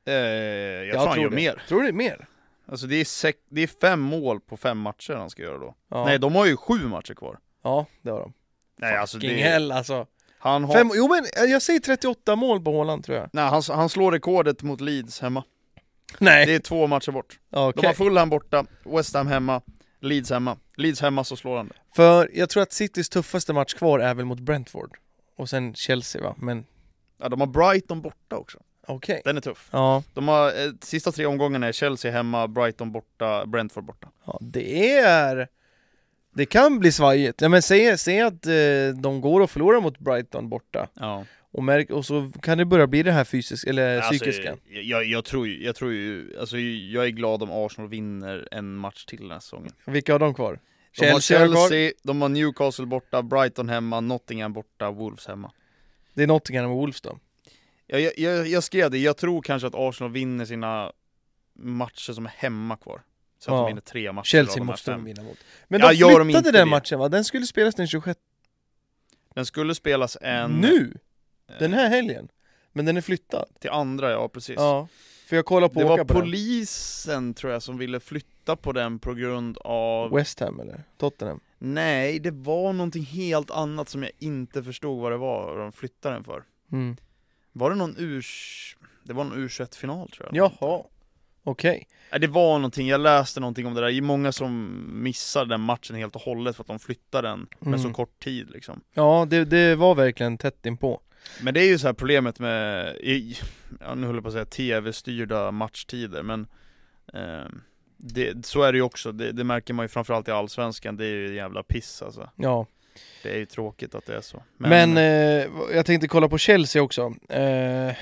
Speaker 3: Eh, jag, tror han gör
Speaker 1: det.
Speaker 3: mer.
Speaker 1: Tror du det är mer?
Speaker 3: Alltså det är, sex, det är fem mål på fem matcher han ska göra då.
Speaker 1: Ja,
Speaker 3: Nej, de har ju sju matcher kvar.
Speaker 1: ja det har de.
Speaker 3: Nej, alltså
Speaker 1: Fucking
Speaker 3: det,
Speaker 1: hell alltså.
Speaker 3: han, har,
Speaker 1: Fem, jo men eh, jag säger 38 mål på Haaland tror jag.
Speaker 3: nej, han, han slår rekordet mot Leeds hemma. Det
Speaker 1: Nej,
Speaker 3: är två matcher bort.
Speaker 1: okej.
Speaker 3: De har Fulham borta, West Ham hemma, Leeds hemma. Leeds hemma så slår han det.
Speaker 1: För jag tror att Citys tuffaste match kvar är väl mot Brentford Och sen Chelsea va, men
Speaker 3: Ja, de har Brighton borta också.
Speaker 1: okej
Speaker 3: Den är tuff.
Speaker 1: ja.
Speaker 3: De har, eh, sista tre omgångarna är Chelsea hemma, Brighton borta, Brentford borta.
Speaker 1: ja, det är... Det kan bli svajigt, ja, men säg, säg att eh, de går och förlorar mot Brighton borta
Speaker 3: Ja.
Speaker 1: och, märk, och så kan det börja bli det här fysiska, eller Eh, psykiska
Speaker 3: Alltså, jag, jag, jag tror ju, jag tror ju, alltså jag är glad om Arsenal vinner en match till den här säsongen.
Speaker 1: Vilka har de kvar?
Speaker 3: De har
Speaker 1: Chelsea har kvar.
Speaker 3: Chelsea, de har Newcastle borta, Brighton hemma, Nottingham borta, Wolves hemma.
Speaker 1: Det är Nottingham och Wolves då?
Speaker 3: Jag, jag- jag, jag skrev det, jag tror kanske att Arsenal vinner sina matcher som är hemma kvar. Så att
Speaker 1: Ja.
Speaker 3: de vinner tre matcher av
Speaker 1: Chelsea
Speaker 3: de här
Speaker 1: måste de
Speaker 3: fem.
Speaker 1: vinna mot Men
Speaker 3: Ja,
Speaker 1: de
Speaker 3: gör de
Speaker 1: flyttade
Speaker 3: inte
Speaker 1: den
Speaker 3: det?
Speaker 1: matchen va? Den skulle spelas den 26
Speaker 3: Den skulle spelas en...
Speaker 1: nu,
Speaker 3: eh,
Speaker 1: den här helgen Men den är flyttad
Speaker 3: Till andra, ja precis.
Speaker 1: Ja, för jag kollar på
Speaker 3: det var
Speaker 1: Åka på den.
Speaker 3: polisen tror jag som ville flytta på den på grund av...
Speaker 1: West Ham eller Tottenham?
Speaker 3: Nej, det var någonting helt annat som jag inte förstod vad det var och de flyttade den för.
Speaker 1: Mm.
Speaker 3: Var det någon ur... Det var någon U21-final tror jag.
Speaker 1: Jaha, okej.
Speaker 3: Nej, det var någonting, jag läste någonting om det där, det är många som missar den matchen helt och hållet för att de flyttar den med så
Speaker 1: Mm.
Speaker 3: kort tid liksom.
Speaker 1: Ja, det, det var verkligen tätt inpå.
Speaker 3: Men det är ju så här problemet med, i, ja, nu höll jag på att säga tv-styrda matchtider, men eh, det, så är det ju också, det, det märker man ju framförallt i Allsvenskan, det är ju jävla piss alltså.
Speaker 1: Ja.
Speaker 3: Det är ju tråkigt att det är så.
Speaker 1: Men, eh, jag tänkte kolla på Chelsea också. Eh,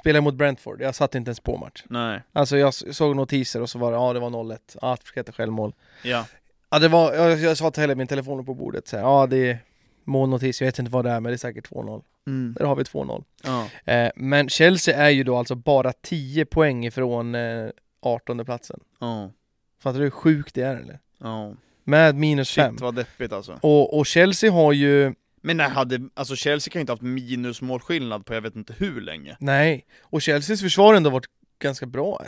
Speaker 1: spelade mot Brentford, jag satt inte ens på match.
Speaker 3: nej,
Speaker 1: Alltså jag s- såg notiser och så var det, ja det var 0-1, ja Artfred självmål.
Speaker 3: ja.
Speaker 1: Ja det var, jag, jag sa till hela min telefon på bordet så här, ja det är målnotis, jag vet inte vad det är men det är säkert 2-0.
Speaker 3: Mm.
Speaker 1: Där har vi 2-0.
Speaker 3: ja.
Speaker 1: Eh, men Chelsea är ju då alltså bara 10 poäng ifrån eh, 18 platsen.
Speaker 3: Ja.
Speaker 1: Fattar du hur sjukt det är eller?
Speaker 3: Ja.
Speaker 1: Med minus 5.
Speaker 3: Shit vad deppigt alltså.
Speaker 1: Och, och Chelsea har ju,
Speaker 3: Men nej, hade, alltså Chelsea kan ju inte haft minusmålskillnad på jag vet inte hur länge.
Speaker 1: nej, och Chelseas försvar har ändå varit ganska bra.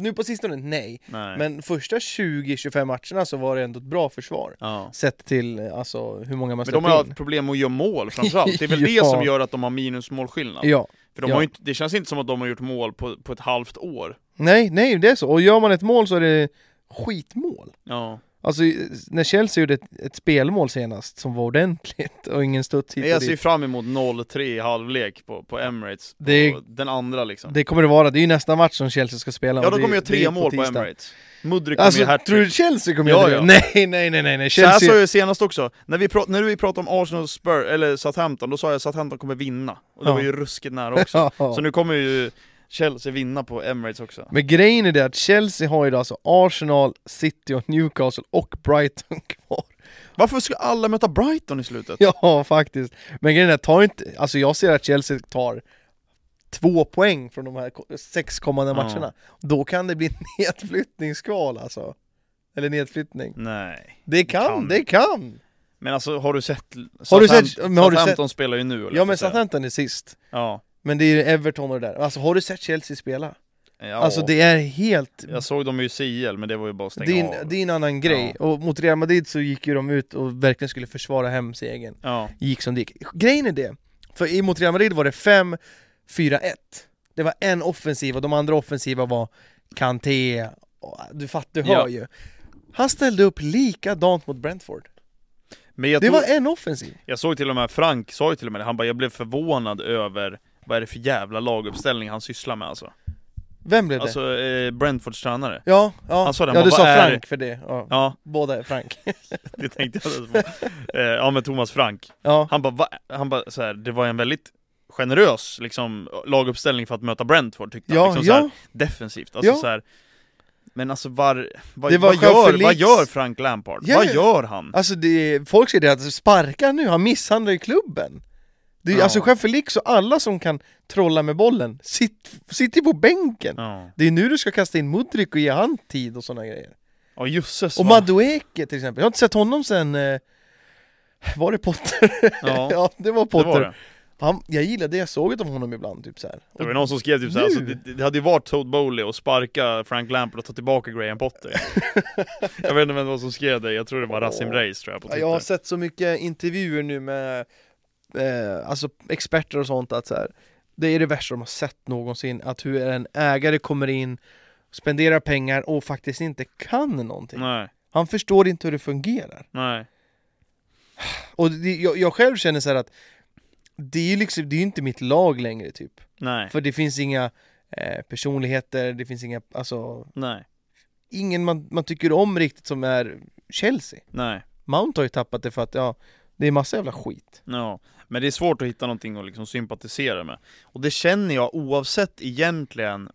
Speaker 1: Nu på sistone, nej.
Speaker 3: Nej.
Speaker 1: Men första 20-25 matcherna så var det ändå ett bra försvar.
Speaker 3: ja.
Speaker 1: Sett till eh, alltså, hur många man
Speaker 3: Men de
Speaker 1: släpper
Speaker 3: har
Speaker 1: in.
Speaker 3: haft problem med att göra mål framförallt, det är väl
Speaker 1: Ja.
Speaker 3: det som gör att de har minusmålskillnad.
Speaker 1: Ja.
Speaker 3: För de
Speaker 1: ja.
Speaker 3: har ju inte, det känns inte som att de har gjort mål på, på ett halvt år.
Speaker 1: Nej, nej, det är så. Och gör man ett mål så är det skitmål.
Speaker 3: Ja.
Speaker 1: Alltså i- när Chelsea gjorde ett, ett spelmål senast som var ordentligt och ingen studs hit och
Speaker 3: Jag ser
Speaker 1: dit.
Speaker 3: fram emot 0-3 i halvlek på, på Emirates, på
Speaker 1: Det-
Speaker 3: den andra liksom.
Speaker 1: Det kommer det vara, det är ju nästa match som Chelsea ska spela.
Speaker 3: ja
Speaker 1: och
Speaker 3: då
Speaker 1: det-
Speaker 3: kommer jag
Speaker 1: det är
Speaker 3: tre mål på,
Speaker 1: tisdag.
Speaker 3: Emirates. Mudrik kommer
Speaker 1: Alltså,
Speaker 3: göra
Speaker 1: tror du
Speaker 3: hattrick.
Speaker 1: Chelsea kommer
Speaker 3: Ja,
Speaker 1: göra
Speaker 3: ja.
Speaker 1: det? Nej, nej, nej, nej, nej.
Speaker 3: Så här sa
Speaker 1: Chelsea...
Speaker 3: jag ju senast också, när vi, pra- när vi pratade om Arsenal Spur, eller Southampton, då sa jag att Southampton kommer vinna. Och det
Speaker 1: Ja.
Speaker 3: var ju ruskigt nära också.
Speaker 1: Ja.
Speaker 3: Så nu kommer ju Chelsea vinna på Emirates också.
Speaker 1: Men grejen är det att Chelsea har ju då alltså Arsenal, City och Newcastle och Brighton kvar.
Speaker 3: Varför ska alla möta Brighton i slutet?
Speaker 1: Ja, faktiskt. Men grejen är, ta inte, alltså jag ser att Chelsea tar två poäng från de här ko- sex kommande
Speaker 3: Ja.
Speaker 1: matcherna. Då kan det bli nedflyttningskval alltså. Eller nedflyttning.
Speaker 3: Nej.
Speaker 1: Det kan,
Speaker 3: kan.
Speaker 1: det kan!
Speaker 3: Men alltså har du sett...
Speaker 1: Har du sett-
Speaker 3: Southampton-
Speaker 1: men har du sett-
Speaker 3: Southampton spelar ju nu,
Speaker 1: Ja men
Speaker 3: Southampton...
Speaker 1: Southampton är sist.
Speaker 3: Ja.
Speaker 1: Men det är ju Everton och det där. Alltså har du sett Chelsea spela?
Speaker 3: ja.
Speaker 1: Alltså det är helt...
Speaker 3: Jag såg dem ju i CL, men det var ju bara att stänga
Speaker 1: Det är,
Speaker 3: av.
Speaker 1: en, det är en annan grej. Och mot Real Madrid så gick ju de ut och verkligen skulle försvara hem segern.
Speaker 3: Ja.
Speaker 1: Gick som det gick. Grejen är det, för i mot Real Madrid var det 5-4-1. Det var en offensiv och de andra offensiva var Kanté, och- du fattar, du hör
Speaker 3: Ja.
Speaker 1: ju. Han ställde upp likadant mot Brentford.
Speaker 3: Men jag,
Speaker 1: Det
Speaker 3: tog,
Speaker 1: var en offensiv.
Speaker 3: jag såg till och med, Frank sa ju till och med det, han bara 'Jag blev förvånad över vad är det för jävla laguppställning han sysslar med alltså?'
Speaker 1: Vem blev det?
Speaker 3: Alltså eh, Brentfords tränare.
Speaker 1: ja, ja,
Speaker 3: han sa det, han
Speaker 1: ja
Speaker 3: bara, "Äh."
Speaker 1: du sa
Speaker 3: "Vad är
Speaker 1: Frank för det. Ja.
Speaker 3: Ja,
Speaker 1: Båda är Frank.
Speaker 3: det tänkte jag på. Eh, ja men Thomas Frank.
Speaker 1: ja.
Speaker 3: Han bara, va? Han bara så här, det var en väldigt generös liksom, laguppställning för att möta Brentford tyckte
Speaker 1: Ja,
Speaker 3: han. Liksom, så
Speaker 1: ja.
Speaker 3: här, defensivt. Alltså,
Speaker 1: Ja.
Speaker 3: så här, men alltså var, vad,
Speaker 1: Det var
Speaker 3: vad, gör,
Speaker 1: Jean-Felix.
Speaker 3: vad gör Frank Lampard?
Speaker 1: Ja,
Speaker 3: Vad
Speaker 1: ja.
Speaker 3: gör han?
Speaker 1: Alltså det, folk säger det att sparka nu, han misshandlar ju klubben. Det är,
Speaker 3: Ja.
Speaker 1: Alltså Jean Felix och alla som kan trolla med bollen, sitt, sitter ju på bänken.
Speaker 3: Ja,
Speaker 1: Det är nu du ska kasta in Mudryk och ge han tid och sådana grejer.
Speaker 3: ja jösses
Speaker 1: Och
Speaker 3: vad-
Speaker 1: Madueke till exempel, jag har inte sett honom sen... Eh, var det Potter?
Speaker 3: Ja,
Speaker 1: ja, det var
Speaker 3: det
Speaker 1: Potter.
Speaker 3: var det.
Speaker 1: Han, jag gillade det jag såg av honom ibland, typ så här.
Speaker 3: Det var ju någon som skrev typ såhär, alltså,
Speaker 1: Nu?
Speaker 3: det, det hade ju varit Toad Bowley och sparka Frank Lampard och ta tillbaka Graham Potter Jag vet inte vem det var som skrev det, jag tror det var Rasim
Speaker 1: Åh.
Speaker 3: Reis tror jag på
Speaker 1: Ja, Jag har
Speaker 3: Twitter
Speaker 1: sett så mycket intervjuer nu med eh, alltså experter och sånt att så här, det är det värsta de har sett någonsin, att hur en ägare kommer in, spenderar pengar och faktiskt inte kan någonting.
Speaker 3: Nej,
Speaker 1: Han förstår inte hur det fungerar.
Speaker 3: nej,
Speaker 1: Och det, jag, jag själv känner så här att det är ju liksom, det är ju inte mitt lag längre typ.
Speaker 3: nej,
Speaker 1: För det finns inga eh, personligheter, det finns inga, alltså
Speaker 3: nej,
Speaker 1: ingen man, man tycker om riktigt som är Chelsea.
Speaker 3: nej,
Speaker 1: Mount har ju tappat det för att ja, det är massa jävla skit.
Speaker 3: ja. Men det är svårt att hitta någonting att liksom sympatisera med Och det känner jag oavsett egentligen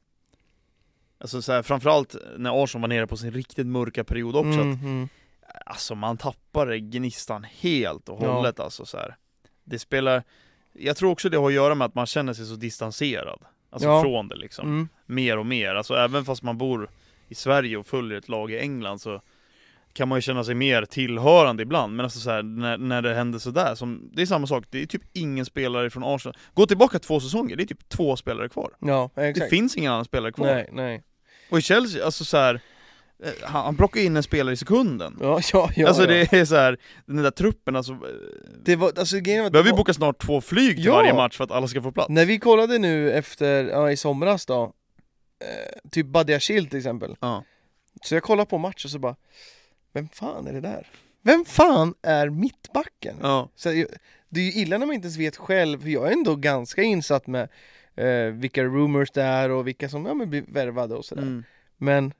Speaker 3: Alltså så här, framförallt när Arson var nere på sin riktigt mörka period också att
Speaker 1: Mhm.
Speaker 3: Alltså man tappar gnistan helt och
Speaker 1: Ja.
Speaker 3: hållet alltså så här. Det spelar Jag tror också det har att göra med att man känner sig så distanserad Alltså
Speaker 1: Ja.
Speaker 3: från det liksom,
Speaker 1: Mm.
Speaker 3: mer och mer Alltså även fast man bor i Sverige och följer ett lag i England så Kan man ju känna sig mer tillhörande ibland Men alltså så här, när, när det händer sådär som Det är samma sak, det är typ ingen spelare från Arsenal Gå tillbaka två säsonger, det är typ två spelare kvar
Speaker 1: Ja, exakt.
Speaker 3: Det finns ingen annan spelare kvar
Speaker 1: Nej, nej.
Speaker 3: Och i Chelsea, alltså så här, eh, Han, han plockar in en spelare i sekunden
Speaker 1: Ja, ja, ja.
Speaker 3: alltså
Speaker 1: ja.
Speaker 3: det är så här, den där truppen alltså, eh,
Speaker 1: det var, alltså grejen var att-
Speaker 3: behöver vi boka snart två flyg till
Speaker 1: Ja.
Speaker 3: varje match för att alla ska få plats?
Speaker 1: När vi kollade nu efter, ja, i somras då, eh, typ Badiachil till exempel.
Speaker 3: Ja.
Speaker 1: Så jag kollade på matchen och så bara, vem fan är det där? Vem fan är mittbacken?
Speaker 3: Ja,
Speaker 1: Så jag- det är ju illa när man inte ens vet själv, för jag är ändå ganska insatt med eh, vilka rumors det är och vilka som ja, men blir värvade och sådär.
Speaker 3: mm.
Speaker 1: Men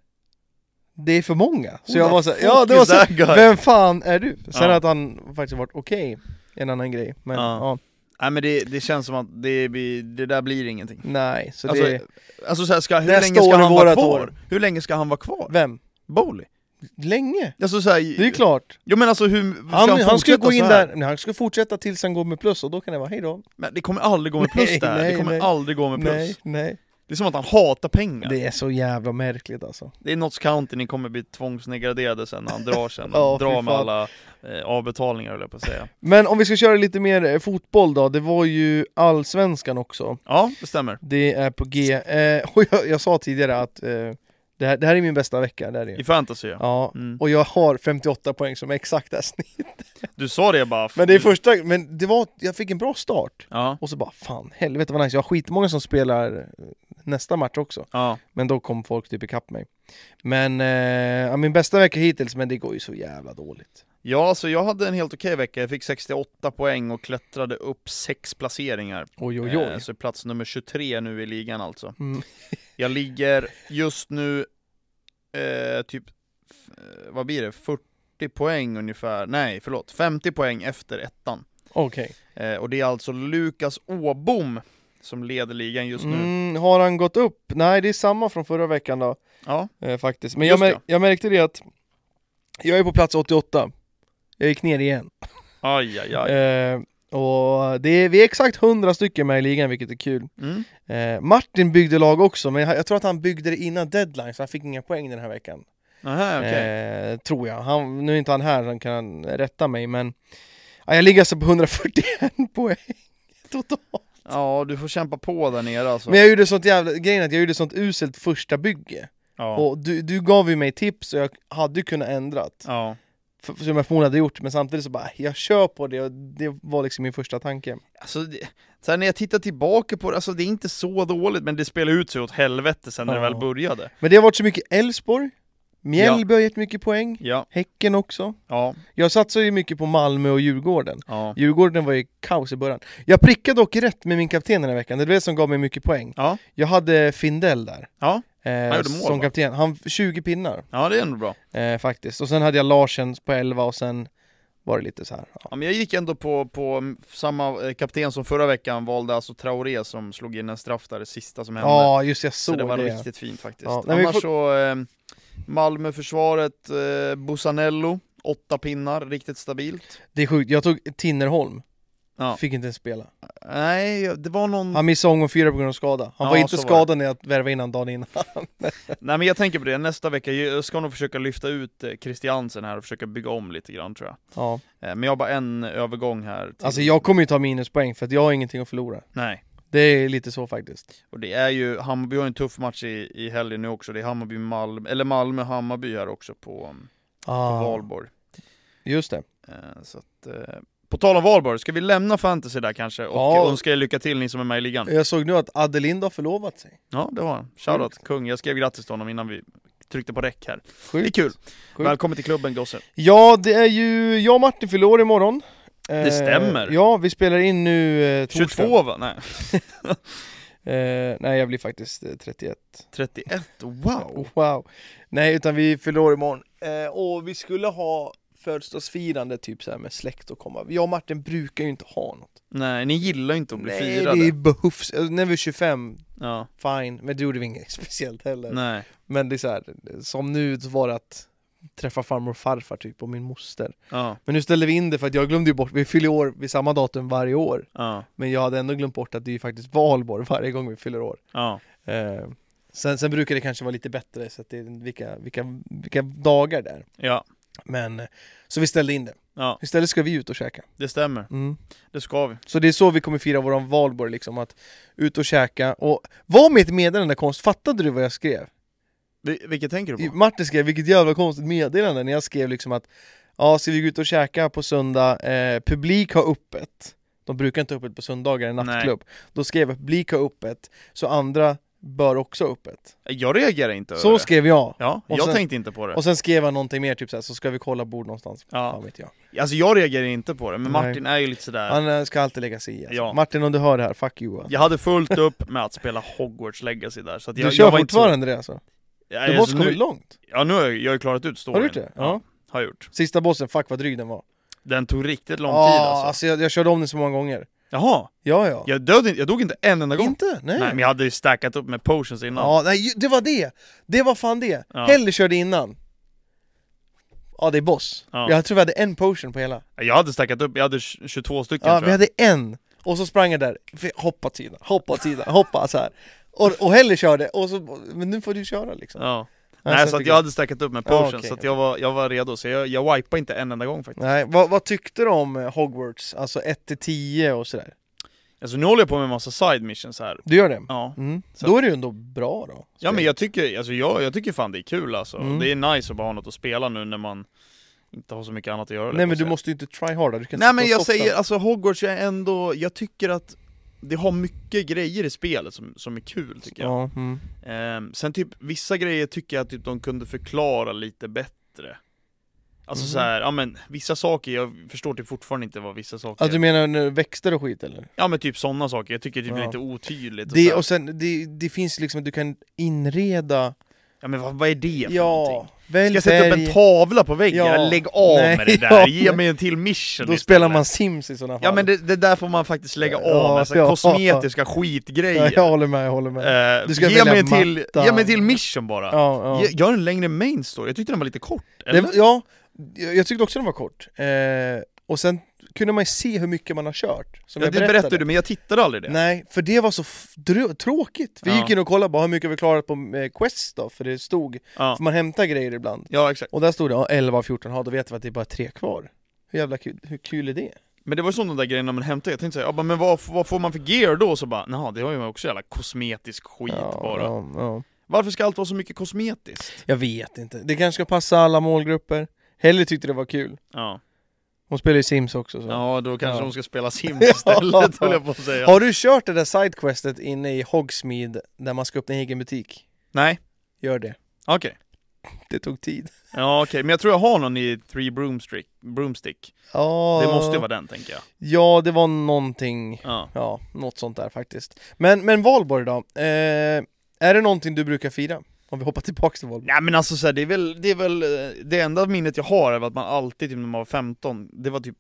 Speaker 1: det är för många. Så
Speaker 3: Who
Speaker 1: jag
Speaker 3: the
Speaker 1: var så här,
Speaker 3: fuck
Speaker 1: ja det var
Speaker 3: is
Speaker 1: så här,
Speaker 3: that guy?
Speaker 1: Vem fan är du? Sen
Speaker 3: Ja.
Speaker 1: att han faktiskt har varit okej, en annan grej. Men
Speaker 3: Ja.
Speaker 1: ja,
Speaker 3: Nej men det, det känns som att det, blir- det där blir ingenting
Speaker 1: nej. Så
Speaker 3: Alltså,
Speaker 1: det är...
Speaker 3: alltså så här, ska, hur
Speaker 1: Nästa
Speaker 3: länge ska
Speaker 1: år är
Speaker 3: han vara
Speaker 1: vårat
Speaker 3: kvar?
Speaker 1: år.
Speaker 3: Hur länge ska han vara kvar?
Speaker 1: Vem?
Speaker 3: Bowley?
Speaker 1: Länge?
Speaker 3: Alltså så här,
Speaker 1: Det är klart.
Speaker 3: Jo men alltså hur, ska
Speaker 1: Han, han skulle
Speaker 3: fortsätta
Speaker 1: gå
Speaker 3: så
Speaker 1: in
Speaker 3: här?
Speaker 1: där, nej, han skulle fortsätta tills han går med plus och då kan det vara hejdå.
Speaker 3: Men det kommer aldrig gå med plus
Speaker 1: Nej,
Speaker 3: där, det
Speaker 1: nej,
Speaker 3: kommer
Speaker 1: nej.
Speaker 3: aldrig gå med plus
Speaker 1: Nej, nej.
Speaker 3: Det är som att han hatar pengar Det,
Speaker 1: Det är så jävla märkligt alltså.
Speaker 3: är Notts County, ni kommer bli tvångsnegraderade sen när han drar sen,
Speaker 1: Ja,
Speaker 3: han
Speaker 1: fy
Speaker 3: drar med
Speaker 1: fan.
Speaker 3: alla eh, avbetalningar höll jag på att säga
Speaker 1: Men om vi ska köra lite mer eh, fotboll då, det var ju allsvenskan också.
Speaker 3: Ja, det stämmer
Speaker 1: Det är på G. Eh, och jag, jag sa tidigare att eh, det, här, det här är min bästa vecka, det här är
Speaker 3: I
Speaker 1: det.
Speaker 3: fantasy ja.
Speaker 1: Ja,
Speaker 3: Mm.
Speaker 1: och jag har 58 poäng som är exakt där snitt.
Speaker 3: Du sa det bara
Speaker 1: Men det är första, men det var, jag fick en bra start.
Speaker 3: Ja,
Speaker 1: Och så bara, fan helvete vad nice, jag har skitmånga som spelar eh, nästa match också.
Speaker 3: ja,
Speaker 1: Men då kom folk typ ikapp mig. Men, eh, ja, min bästa vecka hittills, men det går ju så jävla dåligt.
Speaker 3: ja alltså jag hade en helt okej vecka, jag fick 68 poäng och klättrade upp sex placeringar
Speaker 1: Oj oj oj.
Speaker 3: Eh, Så plats nummer 23 nu i ligan alltså
Speaker 1: Mm.
Speaker 3: Jag ligger just nu eh, typ, f- eh, vad blir det, 40 poäng ungefär, nej förlåt, 50 poäng efter ettan
Speaker 1: Okej.
Speaker 3: eh, Och det är alltså Lukas Åbom som leder ligan just nu
Speaker 1: Mm, har han gått upp? Nej, det är samma från förra veckan då,
Speaker 3: Ja,
Speaker 1: eh, faktiskt. Men jag,
Speaker 3: Just
Speaker 1: mär- jag märkte det att jag är på plats 88. Jag gick ner igen.
Speaker 3: aj aj aj
Speaker 1: Eh, och det är, vi är exakt 100 stycken med i ligan, vilket är kul.
Speaker 3: mm.
Speaker 1: Eh, Martin byggde lag också, men jag, jag tror att han byggde det innan deadline, så han fick inga poäng den här veckan.
Speaker 3: Aha, okej.
Speaker 1: Eh, tror jag. Han, nu är inte han här, han kan rätta mig men ja, jag ligger alltså på 141 poäng totalt.
Speaker 3: Ja, du får kämpa på där nere alltså.
Speaker 1: Men jag gjorde sånt jävla, grejen är att jag gjorde sånt uselt första bygge.
Speaker 3: ja.
Speaker 1: Och du, du gav ju mig tips och jag hade ju kunnat ändrat.
Speaker 3: ja.
Speaker 1: F- Som jag förmodligen hade gjort, men samtidigt så bara, jag kör på det och det var liksom min första tanke.
Speaker 3: Alltså, det, så här, när jag tittar tillbaka på det, alltså det är inte så dåligt, men det spelar ut sig åt helvete sen när det
Speaker 1: Ja.
Speaker 3: väl började.
Speaker 1: Men det har varit så mycket Elfsborg, Mjällby har gett mycket poäng,
Speaker 3: Ja,
Speaker 1: Häcken också.
Speaker 3: ja,
Speaker 1: Jag satsar ju mycket på Malmö och Djurgården.
Speaker 3: ja.
Speaker 1: Djurgården var ju kaos i början. Jag prickade dock rätt med min kapten den här veckan, det var det som gav mig mycket poäng.
Speaker 3: Ja,
Speaker 1: Jag hade Findell där.
Speaker 3: Ja,
Speaker 1: eh,
Speaker 3: han gjorde mål,
Speaker 1: som
Speaker 3: va?
Speaker 1: kapten. Han 20 pinnar
Speaker 3: ja det är ändå bra.
Speaker 1: eh, faktiskt. Och sen hade jag Larsen på 11 och sen var det lite så här. Ja.
Speaker 3: Ja, men jag gick ändå på, på samma eh, kapten som förra veckan, valde alltså Traoré som slog in en straff där, det sista som hände.
Speaker 1: Ja, just det, jag
Speaker 3: eh, så,
Speaker 1: såg
Speaker 3: det var
Speaker 1: det.
Speaker 3: riktigt fint faktiskt.
Speaker 1: Ja, nej, vi
Speaker 3: Annars
Speaker 1: får-
Speaker 3: så, eh, Malmö-försvaret, eh, Busanello, åtta pinnar, riktigt stabilt.
Speaker 1: Det är sjukt, jag tog Tinnerholm.
Speaker 3: Ja.
Speaker 1: Fick inte ens spela.
Speaker 3: Nej, det var någon...
Speaker 1: Han missade omgång fyra på grund av skada. Han
Speaker 3: Ja,
Speaker 1: var
Speaker 3: så
Speaker 1: inte
Speaker 3: var
Speaker 1: skadad när jag värvade in honom dagen innan.
Speaker 3: Nej men jag tänker på det, nästa vecka, jag ska nog försöka lyfta ut eh, Christiansen här och försöka bygga om lite grann tror jag.
Speaker 1: Ja.
Speaker 3: Eh, Men jag har bara en övergång här. till-
Speaker 1: Alltså jag kommer ju ta minuspoäng för att jag har ingenting att förlora.
Speaker 3: Nej.
Speaker 1: Det är lite så faktiskt.
Speaker 3: Och det är ju, Hammarby har en tuff match i, i helgen nu också, det är Hammarby, Malmö, eller Malmö-Hammarby här också på, um, på
Speaker 1: Ah,
Speaker 3: Valborg.
Speaker 1: just det.
Speaker 3: Eh, Så att, eh, på tal om Valborg, ska vi lämna fantasy där kanske? Och
Speaker 1: Ja.
Speaker 3: önska er lycka till ni som är med i ligan.
Speaker 1: Jag såg nu att Adelind har förlovat sig.
Speaker 3: Ja, det var han. Shoutout, kung. Jag skrev grattis till honom innan vi tryckte på räck här. Det är
Speaker 1: Mm. Sjukt.
Speaker 3: kul.
Speaker 1: Sjukt.
Speaker 3: Välkommen till klubben gosse.
Speaker 1: Ja, det är ju jag och Martin fyller år imorgon. Eh,
Speaker 3: Det stämmer.
Speaker 1: Ja, vi spelar in nu eh, torsdag.
Speaker 3: 22 va? Nej,
Speaker 1: Eh, nej, jag blir faktiskt eh, 31.
Speaker 3: 31. Wow!
Speaker 1: Wow. Nej, utan vi fyller år imorgon. Eh, och vi skulle ha födelsedagsfirande typ så här med släkt och komma. Jag och Martin brukar ju inte ha något.
Speaker 3: Nej, ni gillar ju inte att bli
Speaker 1: Nej,
Speaker 3: firade.
Speaker 1: det behövs. Eh, När vi är 25,
Speaker 3: Ja,
Speaker 1: fine. Men det gjorde vi inget speciellt heller.
Speaker 3: nej.
Speaker 1: Men det är så här, som nu så var det att träffa farmor och farfar typ och min moster.
Speaker 3: Ja,
Speaker 1: Men nu ställde vi in det för att jag glömde ju bort, vi fyller ju år vid samma datum varje år.
Speaker 3: ja,
Speaker 1: Men jag hade ändå glömt bort att det är ju faktiskt valborg varje gång vi fyller år.
Speaker 3: ja.
Speaker 1: Eh, sen, sen brukar det kanske vara lite bättre så att det är vilka, vilka, vilka dagar det är.
Speaker 3: Ja,
Speaker 1: Men eh, så vi ställde in det.
Speaker 3: ja,
Speaker 1: Istället ska vi ut och käka.
Speaker 3: det stämmer.
Speaker 1: Mm.
Speaker 3: Det ska vi.
Speaker 1: Så det är så vi kommer fira våran valborg liksom, att ut och käka och var mitt meddelande konstigt? Fattade du vad jag skrev?
Speaker 3: Vi, vilket tänker du
Speaker 1: I-
Speaker 3: på?
Speaker 1: Martin skrev, vilket jävla konstigt meddelande när jag skrev liksom att Ja, ska vi gå ut och käka på söndag? Eh, publik har öppet. De brukar inte ha öppet på söndagar i nattklubb. Då skrev jag publik har öppet, så andra bör också ha öppet.
Speaker 3: Jag reagerar inte över
Speaker 1: Så
Speaker 3: det.
Speaker 1: skrev jag.
Speaker 3: Ja,
Speaker 1: och
Speaker 3: jag
Speaker 1: sen-
Speaker 3: tänkte inte på det.
Speaker 1: Och sen skrev han någonting mer, typ såhär, så ska vi kolla bord någonstans.
Speaker 3: Ja.
Speaker 1: Fan vet jag.
Speaker 3: Alltså jag reagerar inte på det, men
Speaker 1: Nej.
Speaker 3: Martin är ju lite sådär.
Speaker 1: Han eh, ska alltid lägga sig i. Alltså.
Speaker 3: Ja.
Speaker 1: Martin, om du hör det här, fuck you. Alltså.
Speaker 3: Jag hade fullt upp med att spela Hogwarts Legacy där, så att jag,
Speaker 1: du kör
Speaker 3: jag var inte så-
Speaker 1: fortfarande det alltså?
Speaker 3: Ja,
Speaker 1: Du
Speaker 3: alltså,
Speaker 1: måste komma
Speaker 3: nu,
Speaker 1: långt.
Speaker 3: ja, nu har jag, jag har ju klarat ut storyn.
Speaker 1: Har du gjort det?
Speaker 3: Ja,
Speaker 1: Ja.
Speaker 3: har jag gjort.
Speaker 1: Sista bossen, fuck vad dryg den var.
Speaker 3: Den tog riktigt lång
Speaker 1: Ja,
Speaker 3: tid alltså.
Speaker 1: alltså jag, jag körde om den så många gånger.
Speaker 3: Jaha,
Speaker 1: Ja, ja.
Speaker 3: jag, död, jag dog inte en enda gång.
Speaker 1: Inte? Nej.
Speaker 3: Nej, men jag hade ju stackat upp med potions innan.
Speaker 1: Ja, nej, ju- det var det! Det var fan det!
Speaker 3: Ja.
Speaker 1: Heller körde innan. Ja, det är boss.
Speaker 3: Ja.
Speaker 1: Jag tror vi hade en potion på hela.
Speaker 3: Jag hade stackat upp, jag hade 22 stycken
Speaker 1: Ja,
Speaker 3: tror jag.
Speaker 1: vi hade en! Och så sprang jag där, F- hoppa åt sidan, hoppa åt sidan, hoppa så här. Och, och Heller körde, och så, men nu får du köra liksom.
Speaker 3: Ja.
Speaker 1: Nej,
Speaker 3: Nej,
Speaker 1: sen
Speaker 3: så att
Speaker 1: fick
Speaker 3: jag
Speaker 1: jag-
Speaker 3: hade stackat upp med potions,
Speaker 1: Ja, okej,
Speaker 3: så att jag var, jag var redo. Så jag, jag wipade inte en enda gång faktiskt.
Speaker 1: Nej, vad, vad tyckte du om eh, Hogwarts? Alltså 1-10 och sådär?
Speaker 3: Alltså nu håller jag på med en massa side missions här.
Speaker 1: Du gör det?
Speaker 3: Ja.
Speaker 1: Mm.
Speaker 3: Så-
Speaker 1: Då är det ju ändå bra då.
Speaker 3: Ja men jag tycker, alltså jag, jag tycker fan det är kul alltså.
Speaker 1: Mm.
Speaker 3: Det är nice att bara ha något att spela nu när man inte har så mycket annat att göra. liksom.
Speaker 1: Nej men du
Speaker 3: måste
Speaker 1: måste ju inte try harda, du kan sitta
Speaker 3: Nej men
Speaker 1: och
Speaker 3: jag
Speaker 1: softa.
Speaker 3: säger, alltså Hogwarts är ändå, jag tycker att det har mycket grejer i spelet som, som är kul tycker jag.
Speaker 1: Ja, mm.
Speaker 3: Ehm, sen typ, vissa grejer tycker jag att typ, de kunde förklara lite bättre. Alltså
Speaker 1: Mhm.
Speaker 3: så här, ja men vissa saker, jag förstår typ fortfarande inte vad vissa saker
Speaker 1: Alltså,
Speaker 3: är.
Speaker 1: du menar när växter och skit eller?
Speaker 3: Ja men typ sådana saker, jag tycker typ det är
Speaker 1: Ja.
Speaker 3: lite otydligt och
Speaker 1: Det,
Speaker 3: så här.
Speaker 1: och sen, det, det finns liksom att du kan inreda...
Speaker 3: Ja men vad, vad är det för någonting?
Speaker 1: Ja, välj
Speaker 3: Ska jag sätta upp
Speaker 1: färg.
Speaker 3: en tavla på väggen?
Speaker 1: Ja.
Speaker 3: Lägg av
Speaker 1: Nej,
Speaker 3: med det där,
Speaker 1: ja.
Speaker 3: ge mig en till mission
Speaker 1: Då
Speaker 3: istället.
Speaker 1: spelar man Sims i sådana fall.
Speaker 3: Ja men det, det där får man faktiskt lägga av
Speaker 1: Ja,
Speaker 3: med, så här
Speaker 1: ja.
Speaker 3: kosmetiska
Speaker 1: ja,
Speaker 3: skitgrejer
Speaker 1: jag håller med, jag håller med.
Speaker 3: Eh,
Speaker 1: Du ska
Speaker 3: ge,
Speaker 1: välja
Speaker 3: mig en till,
Speaker 1: matta.
Speaker 3: ge mig en till mission bara!
Speaker 1: Ja,
Speaker 3: Ge,
Speaker 1: ja.
Speaker 3: gör en längre main story, jag tyckte den var lite kort, eller?
Speaker 1: Det, ja, jag jag tyckte också den var kort. Eh, och sen kunde man ju se hur mycket man har kört.
Speaker 3: Ja,
Speaker 1: Som
Speaker 3: det
Speaker 1: jag berättade.
Speaker 3: berättade du, men jag tittade aldrig det.
Speaker 1: Nej, för det var så f- drö- tråkigt. Vi
Speaker 3: Ja.
Speaker 1: gick in och kollade bara hur mycket vi klarat på eh, Quest då, för det stod,
Speaker 3: Ja.
Speaker 1: för man hämtar grejer ibland.
Speaker 3: ja, exakt.
Speaker 1: Och där stod det ja, 11 av 14, ja då vet vi att det är bara tre kvar. Hur jävla kul, hur kul är det?
Speaker 3: Men det var ju sån de där grejerna man hämtade, jag tänkte säga, ja, bara, men vad, f- vad får man för gear då? Så bara, naha, det har ju också jävla kosmetisk skit
Speaker 1: ja,
Speaker 3: bara.
Speaker 1: Ja, ja.
Speaker 3: Varför ska allt vara så mycket kosmetiskt?
Speaker 1: Jag vet inte, det kanske ska passa alla målgrupper. Hellre tyckte det var kul.
Speaker 3: Ja,
Speaker 1: Hon spelar ju Sims också så.
Speaker 3: ja då kanske
Speaker 1: Ja.
Speaker 3: de ska spela Sims istället, höll jag på att säga.
Speaker 1: Har du kört det där sidequestet inne i Hogsmeade där man ska öppna egen butik?
Speaker 3: Nej,
Speaker 1: Gör det.
Speaker 3: okej.
Speaker 1: Det tog tid.
Speaker 3: Ja, okej, men jag tror jag har någon i Three Broomstick. Broomstick.
Speaker 1: Ja,
Speaker 3: Det måste ju vara den, tänker jag.
Speaker 1: Ja, det var någonting.
Speaker 3: Ja.
Speaker 1: Ja, något sånt där faktiskt. Men, men valborg då? Eh, är det någonting du brukar fira? Om vi hoppar tillbaka till valborg.
Speaker 3: Nej men alltså så här, det är väl, det är väl, eh, det enda minnet jag har är att man alltid typ när man var 15, det var typ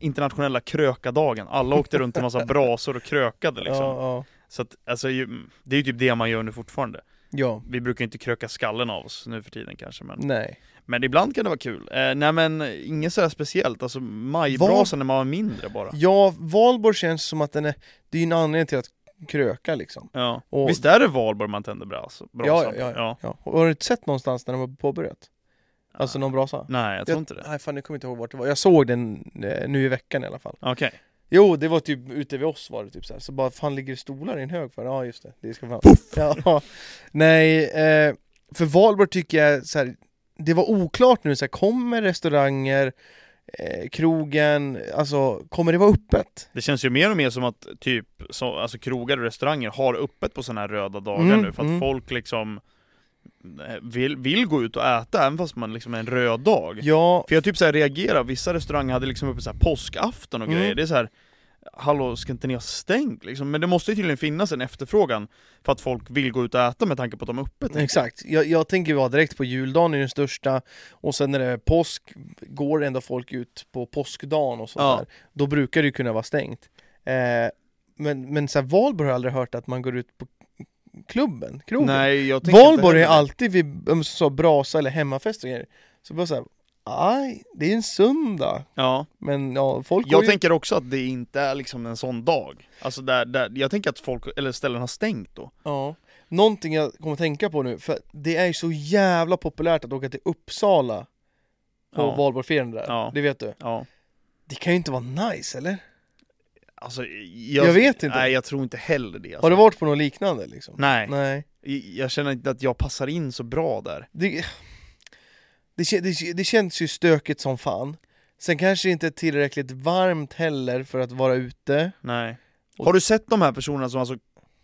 Speaker 3: internationella krökadagen, alla åkte runt i massa brasor och krökade liksom.
Speaker 1: Ja, ja.
Speaker 3: Så att, alltså, ju- det är ju typ det man gör nu fortfarande.
Speaker 1: ja,
Speaker 3: Vi brukar ju inte kröka skallen av oss nu för tiden kanske, men,
Speaker 1: nej.
Speaker 3: men ibland kan det vara kul. Eh, nej men inget sådär speciellt, alltså majbrasan när man var mindre bara.
Speaker 1: Ja, valborg känns som att den är... Det är ju en anledning till att kröka liksom.
Speaker 3: Ja.
Speaker 1: Och-
Speaker 3: Visst är det valborg man tänder bras, brasan?
Speaker 1: Ja, ja, ja.
Speaker 3: ja.
Speaker 1: Ja. Och Har du inte sett någonstans när de har påbörjat? Alltså någon brasa?
Speaker 3: Nej, Ah. jag tror inte det.
Speaker 1: Nej, fan nu kommer jag inte ihåg vart det var. Jag såg den eh, nu i veckan i alla fall.
Speaker 3: Okej.
Speaker 1: Jo, det var typ ute vid oss var det typ så här. Så bara, fan ligger det stolar i en hög för? Ja just det, det ska fan... Puff! Ja, nej, eh, för Valborg tycker jag så här, det var oklart nu så här, kommer restauranger, eh, krogen, alltså kommer det vara öppet?
Speaker 3: Det känns ju mer och mer som att typ så, alltså krogar och restauranger har öppet på sådana här röda dagar
Speaker 1: Mm,
Speaker 3: nu för att
Speaker 1: mm.
Speaker 3: folk liksom eh, vill, vill gå ut och äta även fast man liksom är en röd dag.
Speaker 1: Ja,
Speaker 3: För jag typ så här reagerar, vissa restauranger hade liksom uppe så här påskafton och
Speaker 1: Mm.
Speaker 3: grejer, det är så här Hallå, ska inte ni ha stängt liksom? Men det måste ju tydligen finnas en efterfrågan för att folk vill gå ut och äta med tanke på att de är öppet.
Speaker 1: exakt. Jag, jag tänker vara direkt på juldagen är den största och sen när det är påsk går ändå folk ut på påskdagen och sånt
Speaker 3: Ja.
Speaker 1: där. Då brukar det ju kunna vara stängt. Eh, men, men så här, Valborg har jag aldrig hört att man går ut på klubben, krogen.
Speaker 3: Nej, jag tänker inte
Speaker 1: Valborg är
Speaker 3: heller det.
Speaker 1: alltid vid om så, brasa eller hemmafest och grejer. Så bara såhär, aj, det är en söndag.
Speaker 3: Ja.
Speaker 1: Men ja, folk går
Speaker 3: Jag
Speaker 1: ju-
Speaker 3: tänker också att det inte är liksom en sån dag. Alltså där, där, jag tänker att folk, eller ställen har stängt då.
Speaker 1: ja. Någonting jag kommer att tänka på nu, för det är ju så jävla populärt att åka till Uppsala på
Speaker 3: Ja.
Speaker 1: valborgsfirande där.
Speaker 3: Ja.
Speaker 1: Det vet du.
Speaker 3: Ja.
Speaker 1: Det kan ju inte vara nice eller?
Speaker 3: Alltså,
Speaker 1: Jag vet inte.
Speaker 3: Nej, jag tror inte heller det. Alltså.
Speaker 1: Har du varit på något liknande liksom?
Speaker 3: Nej,
Speaker 1: Nej.
Speaker 3: Jag- jag känner inte att jag passar in så bra där.
Speaker 1: Det, det, kä- det, kä- det känns ju stökigt som fan. Sen kanske det inte är tillräckligt varmt heller för att vara ute.
Speaker 3: Nej.
Speaker 1: Och-
Speaker 3: Har du sett de här personerna som alltså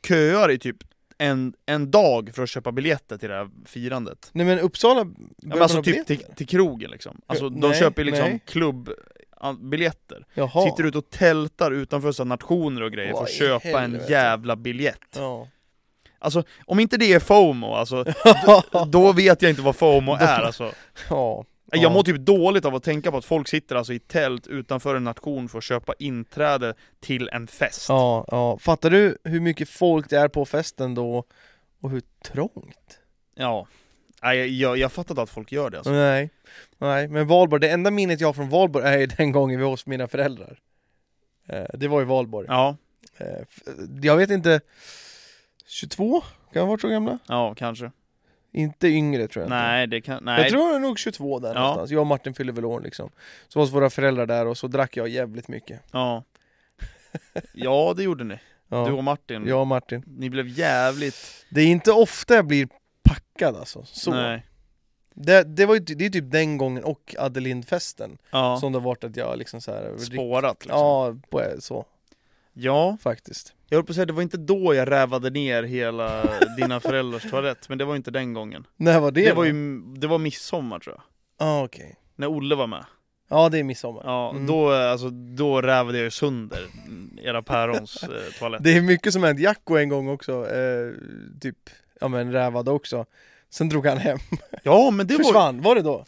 Speaker 3: köar i typ en, en dag för att köpa biljetter till det här firandet?
Speaker 1: Nej men Uppsala...
Speaker 3: Ja,
Speaker 1: behöver
Speaker 3: men alltså
Speaker 1: man
Speaker 3: typ
Speaker 1: biljetter?
Speaker 3: till, till krogen liksom. Alltså de
Speaker 1: nej,
Speaker 3: köper liksom
Speaker 1: nej.
Speaker 3: klubbbiljetter.
Speaker 1: Jaha.
Speaker 3: Sitter ut och tältar utanför så här nationer och grejer för
Speaker 1: Vad
Speaker 3: att
Speaker 1: i
Speaker 3: köpa en
Speaker 1: helvete.
Speaker 3: jävla biljett.
Speaker 1: Ja.
Speaker 3: Alltså om inte det är FOMO alltså, då, då vet jag inte vad FOMO är alltså.
Speaker 1: ja. Ja.
Speaker 3: Jag mår typ dåligt av att tänka på att folk sitter alltså i tält utanför en nation för att köpa inträde till en fest.
Speaker 1: Ja, ja. Fattar du hur mycket folk det är på festen då? Och hur trångt?
Speaker 3: Ja. Nej, jag, jag, jag fattar inte att folk gör det alltså.
Speaker 1: Nej. Nej, men Valborg, det enda minnet jag har från Valborg är ju den gången vi var hos mina föräldrar. Eh, det var i Valborg.
Speaker 3: Ja,
Speaker 1: Eh, f- jag vet inte, 22? Kan jag vara så gamla?
Speaker 3: ja kanske.
Speaker 1: Inte yngre tror jag inte.
Speaker 3: Nej, det kan... Nej.
Speaker 1: Jag tror jag är nog 22 där
Speaker 3: Ja.
Speaker 1: någonstans. Jag och Martin fyllde väl år liksom. Så var våra föräldrar där och så drack jag jävligt mycket.
Speaker 3: Ja. ja, det gjorde ni.
Speaker 1: Ja.
Speaker 3: Du och Martin.
Speaker 1: Jag och Martin.
Speaker 3: Ni blev jävligt...
Speaker 1: Det är inte ofta jag blir packad alltså. Så.
Speaker 3: Nej.
Speaker 1: Det, det, var ju, ty- det är typ den gången och Adelindfesten
Speaker 3: Ja.
Speaker 1: som det har varit att jag liksom så här,
Speaker 3: Spårat liksom. Ja.
Speaker 1: Ja, på, så
Speaker 3: ja.
Speaker 1: faktiskt.
Speaker 3: Jag höll på att säga, det var inte då jag rävade ner hela dina föräldrars toalett, men det var ju inte den gången.
Speaker 1: När var det?
Speaker 3: Det var
Speaker 1: då?
Speaker 3: ju... Det var midsommar tror jag.
Speaker 1: Ja, okej.
Speaker 3: När Olle var med.
Speaker 1: Ja, det är midsommar.
Speaker 3: Ja,
Speaker 1: Mm.
Speaker 3: då, eh, alltså, då rävade jag ju sönder era pärons eh, toalett.
Speaker 1: Det är mycket som hänt Jacko en gång också, eh, typ, ja men rävade också. Sen drog han hem.
Speaker 3: Ja, men det var...
Speaker 1: Försvann, var det då?